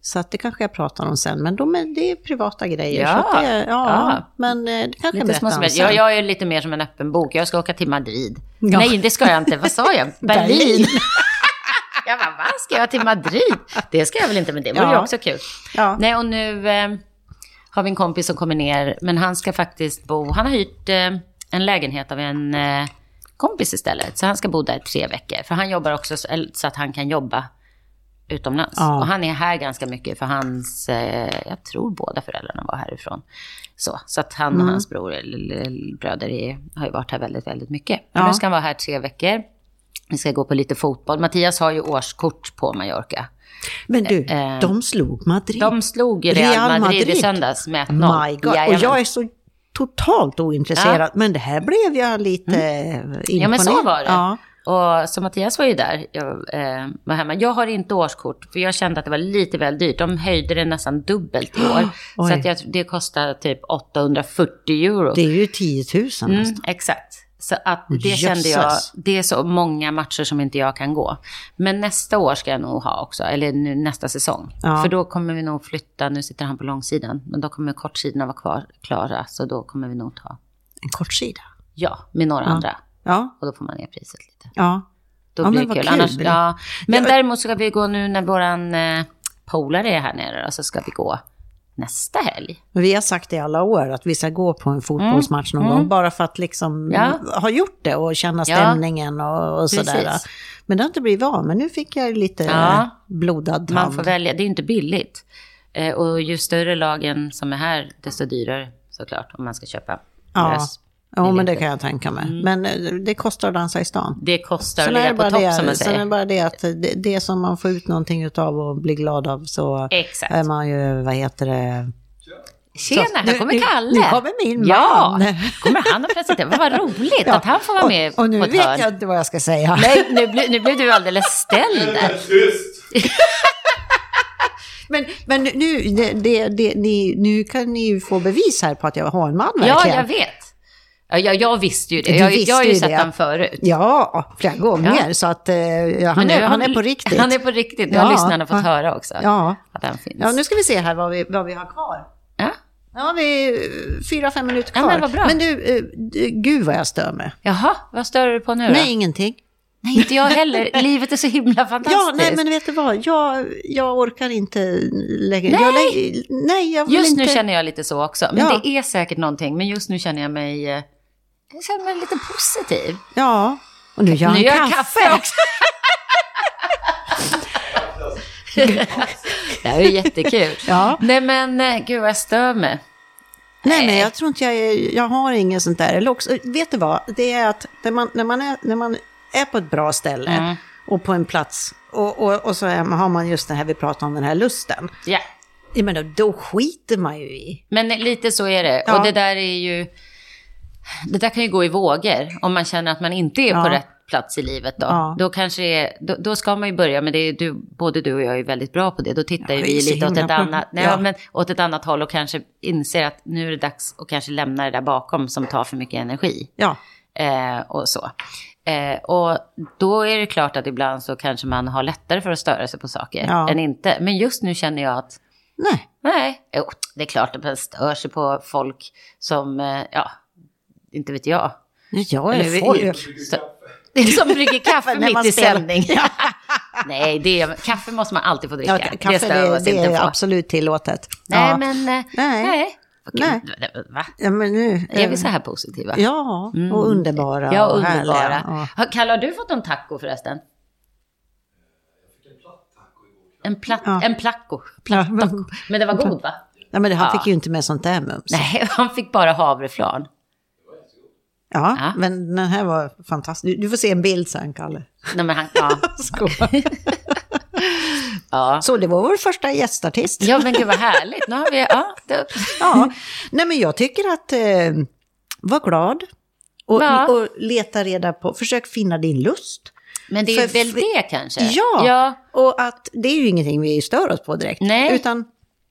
Så att det kanske jag pratar om sen, men de är, det är privata grejer. Ja, så att det, ja, ja. Men eh, det kanske jag Lite små berättar om som sen. jag, jag är lite mer som en öppen bok. Jag ska åka till Madrid. Ja. Nej, det ska jag inte. Vad sa jag? Berlin. <laughs> Berlin. jag bara, va? Ska jag till Madrid? Det ska jag väl inte, men det vore Ja. ju också kul. Ja. Nej, och nu eh, har vi en kompis som kommer ner, men han ska faktiskt bo... Han har hyrt eh, en lägenhet av en eh, kompis istället, så han ska bo där i tre veckor. För han jobbar också så, eller, så att han kan jobba utomlands. Ja. Och han är här ganska mycket, för hans... Eh, jag tror båda föräldrarna var härifrån. Så, så att han Mm. och hans bror, eller, eller bröder, är, har ju varit här väldigt, väldigt mycket. Men Ja. Nu ska han vara här tre veckor. Vi ska gå på lite fotboll. Mattias har ju årskort på Mallorca. Men du, eh, de slog Madrid. De slog Real, Real Madrid, i Madrid. söndags med 1-0. My God. Och Jajamän. jag är så totalt ointresserad, men det här blev jag lite mm. imponerad. Ja, men så var det. Ja. Och så Mattias var ju där, jag eh, var hemma. Jag har inte årskort, för jag kände att det var lite väl dyrt. De höjde det nästan dubbelt i år. <gasps> Oj. så att jag, det kostar typ 840 euro. Det är ju alltså. 10 000 Mm, nästan. exakt. Så att det Jösses. kände jag, det är så många matcher som inte jag kan gå. Men nästa år ska jag nog ha också, eller nu, nästa säsong. Ja. För då kommer vi nog flytta, nu sitter han på långsidan, men då kommer kortsidorna vara kvar, klara, så då kommer vi nog ta, En kortsida. ja, med några andra. Ja, Och då får man ner priset lite. ja. Då Ja, blir men det vad kul. kul. Annars, ja. Men Ja. däremot ska vi gå nu när våran eh, polare är här nere, då, så ska vi gå nästa helg. Men Vi har sagt det i alla år att vi ska gå på en fotbollsmatch någon gång, bara för att liksom Mm. Ja. ha gjort det och känna Ja. stämningen och, och sådär. Precis. Men det har inte blivit av, men nu fick jag lite Ja. eh, blodad Man tand. får välja, det är ju inte billigt. Eh, och ju större lagen som är här, desto dyrare såklart om man ska köpa Ja, lös. ja men det biljetter. kan jag tänka mig. Mm. Men eh, det kostar att dansa i stan. Det kostar att Sen är, liksom det ligga på bara topp som man det, sen är det säger. bara det att det, det som man får ut någonting utav och blir glad av så Exakt. är man ju, vad heter det? Tjena, Nu- här kommer nu- Kalle. nu kommer min Ja, man. kommer han att presentera. Vad <laughs> roligt att han får vara med och, och nu på ett hörn. vet jag inte vad jag ska säga. Nej, nu, blir- nu blev du alldeles <laughs> ställd där. Tyst! Men, men nu, det, det, det, ni, nu kan ni ju få bevis här på att jag har en man Ja, verkligen. jag vet. Ja, jag, jag visste ju det. Du Jag, visste jag har ju ju sett det. honom förut. Ja, flera gånger. Så att eh, ja, han, Men är, nu han är på riktigt. Han är på riktigt. Nu Ja. har lyssnarna fått Ja. höra också Ja. att han finns. ja, nu ska vi se här vad vi, vad vi har kvar. Ja. Nu har vi eh, fyra, fem minuter Ja, kvar. men vad bra. men du, eh, d- gud vad jag stör mig. Jaha, vad stör du på nu då? Nej, ingenting. Nej, inte <laughs> jag heller. Livet är så himla fantastiskt. Ja, nej, men vet du vad? Jag, jag orkar inte lägga... Nej. Jag lägger, nej, jag vill Just inte... nu känner jag lite så också. Men Ja. det är säkert någonting. Men just nu känner jag mig, eh, jag känner mig lite positiv. Ja, och nu gör han nu gör jag kaffe. kaffe <laughs> också. <laughs> det här är jättekul. Ja. Nej men, eh, gud vad jag stör mig. Nej, nej, jag tror inte jag är, jag har inget sånt där. Eller också, vet du vad, det är att när man, när man, är, när man är på ett bra ställe Mm. och på en plats och, och, och så är, har man just det här vi pratar om, den här lusten. Ja. Jag menar, då skiter man ju i. Men lite så är det. Ja. Och det där är ju... Det där kan ju gå i vågor om man känner att man inte är på Ja. rätt plats i livet. Då, Ja. då, kanske det är, då, då ska man ju börja, men det är du, både du och jag är väldigt bra på det. Då tittar ju Ja, vi det är så lite åt ett, himla bra. annat, nej, Ja. men, åt ett annat håll och kanske inser att nu är det dags att kanske lämna det där bakom som tar för mycket energi. Ja, Eh, och så. Eh, och då är det klart att ibland så kanske man har lättare för att störa sig på saker Ja. än inte. Men just nu känner jag att nej. Nej, jo, det är klart att man stör sig på folk som, eh, ja, inte vet jag. Nej, Jag Eller är folk. Stö- <laughs> som brygger <laughs> kaffe När man mitt i spelar. sändning. <laughs> Nej, det är, kaffe måste man alltid få dricka. Ja, det kaffe, stör vi det, oss det inte är på. absolut tillåtet. Nej, ja. men... eh, Nej. nej. Okej, Va? Ja, men nu... Är vi eh, så här positiva? Ja, och underbara Mm. Ja, och underbara. härliga. Ja. Har- Kalle, har du fått någon taco förresten? En platt, Ja. en placko. Ja, <laughs> men, Men det var god va? ja, men han Ja. fick ju inte med sånt där mums. Nej, <laughs> han fick bara havreflarn. Ja, Ja. men den här var fantastisk. Du, du får se en bild sen, Kalle. Nej, men han, <laughs> ja. <laughs> ja. Så det var vår första gästartist. Ja, men gud vad härligt. Nu har vi, ja, det, Ja. Nej, men jag tycker att eh, var glad och, Ja. och leta reda på, försök finna din lust. men det är För- väl det kanske? Ja. och att det är ju ingenting vi stör oss på direkt. Nej. Utan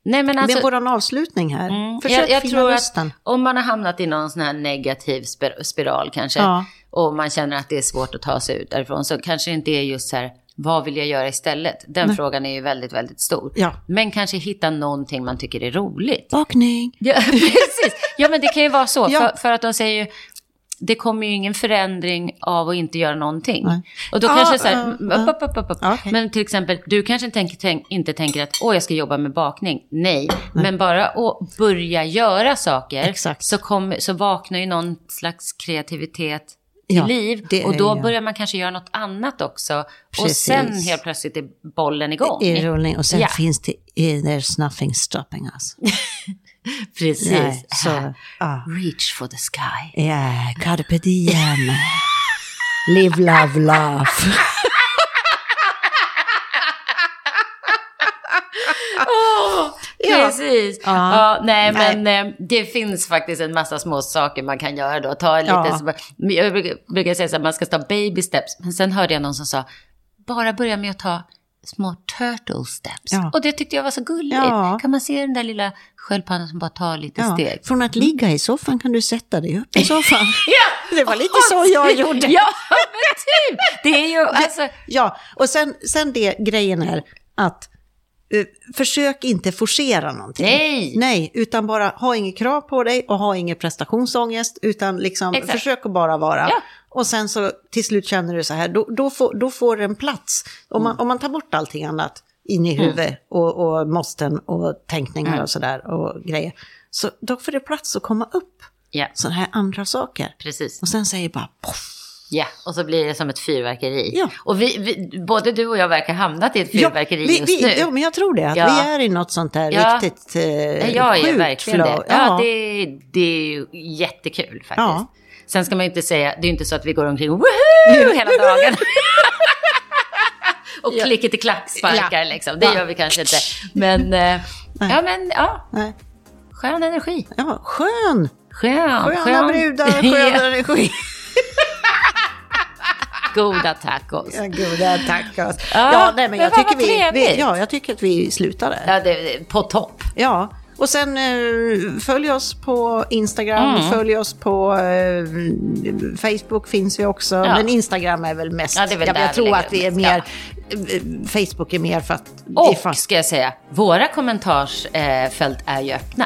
Nej, men alltså, med vår avslutning här, Mm, försök jag, jag finna tror lusten. att om man har hamnat i någon sån här negativ spir- spiral kanske Ja. och man känner att det är svårt att ta sig ut därifrån så kanske det inte är just så här vad vill jag göra istället? Den frågan är ju väldigt, väldigt stor. Ja. Men kanske hitta någonting man tycker är roligt. Bakning. Ja, <laughs> precis. Ja, men det kan ju vara så. <laughs> Ja. För, för att de säger ju, det kommer ju ingen förändring av att inte göra någonting. Nej. Och då Ah, kanske så här, mm, ah, upp, ah. upp, upp, upp, upp. Ja, okej. Men till exempel, du kanske inte tänker, tänk, inte tänker att åh, jag ska jobba med bakning. Nej, men bara att börja göra saker Exakt. Så, kommer- så vaknar ju någon slags kreativitet till Ja, liv. det Och är då det. börjar man kanske göra något annat också. Och Precis. sen helt plötsligt är bollen igång. I rullning och sen Ja. finns det, eh, there's nothing stopping us. Precis. Nej, så, ah. Reach for the sky. Yeah, carpe diem. Live, love, laugh. Ja. Precis. Ja. Ja. nej, Nej. men eh, det finns faktiskt en massa små saker man kan göra då. Ta en liten, Ja. så bara- men jag brukar, brukar säga så här, man ska ta baby steps. Men sen hörde jag någon som sa, bara börja med att ta små turtle steps. Ja. Och det tyckte jag var så gulligt. Ja. Kan man se den där lilla sköldpaddan som bara tar lite Ja, steg? från att ligga i soffan kan du sätta dig upp i soffan. Ja! Det var lite så jag gjorde. Ja, men typ. Det är <laughs> ju, alltså, Ja, och sen, sen det grejen är att eh, försök inte forcera någonting. Nej. Nej, utan bara ha inget krav på dig och ha ingen prestationsångest, utan liksom Exakt. försök att bara vara. Ja. Och sen så till slut känner du så här, då, då, får, då får det en plats. Om man, Mm. om man tar bort allting annat in i huvudet och, och måsten och tänkningar Mm. och sådär och grejer, så då får det plats att komma upp ja, sådana här andra saker. precis. Och sen säger bara poff. Ja, och så blir det som ett fyrverkeri. Ja. Och vi, vi, både du och jag verkar ha hamnat i ett fyrverkeri ja, vi, just vi, nu. Ja, men jag tror det. Att Ja. Vi är i något sånt där Ja. riktigt eh, jag är sjukt verkligen flow. det. Ja, det, det är ju jättekul faktiskt. Ja. Sen ska man ju inte säga, det är ju inte så att vi går omkring och woohoo hela <laughs> dagen. och ja. klicket i klacksparkar Ja. liksom. Det Ja. gör vi kanske inte. Men, eh, ja men ja, Nej. skön energi. Ja, skön! Skön, Sköna skön. <laughs> brudar, skön Ja, energi. Goda tacos. Ja, Goda tackas. Ja, Ja, nej, men men jag, vad- vad tycker vi, trevligt. vi, ja, jag tycker att vi slutar där. Ja. Ja, det, det- på topp. Och sen eh, följ oss på Instagram, Mm. följ oss på eh, Facebook finns vi också. Men Instagram är väl mest, Ja, det är väl jag, där jag vi tror lägger att vi är upp mer, eh, Facebook är mer för att det är Och fast. ska jag säga, våra kommentarsfält är ju öppna.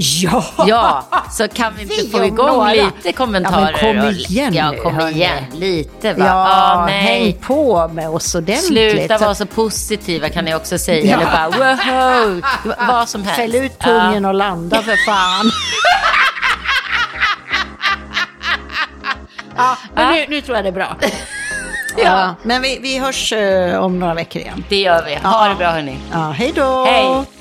Ja! <laughs> Ja, så kan vi inte Fy, få om igång några. lite kommentarer. Ja, men kom och- igen Ja, nu, kom hörni. igen. Lite va? Ja, ah, nej. häng på med oss ordentligt. Sluta vara så positiva kan ni också säga. Ja. Eller bara <laughs> wow, vad som helst. Fäll ut pungen och landa för fan. ja, men nu, nu tror jag det är <laughs> bra. ja. men vi, vi hörs eh, om några veckor igen. Ja, det gör vi. Ha det bra hörni. Ja, hej då! Hej.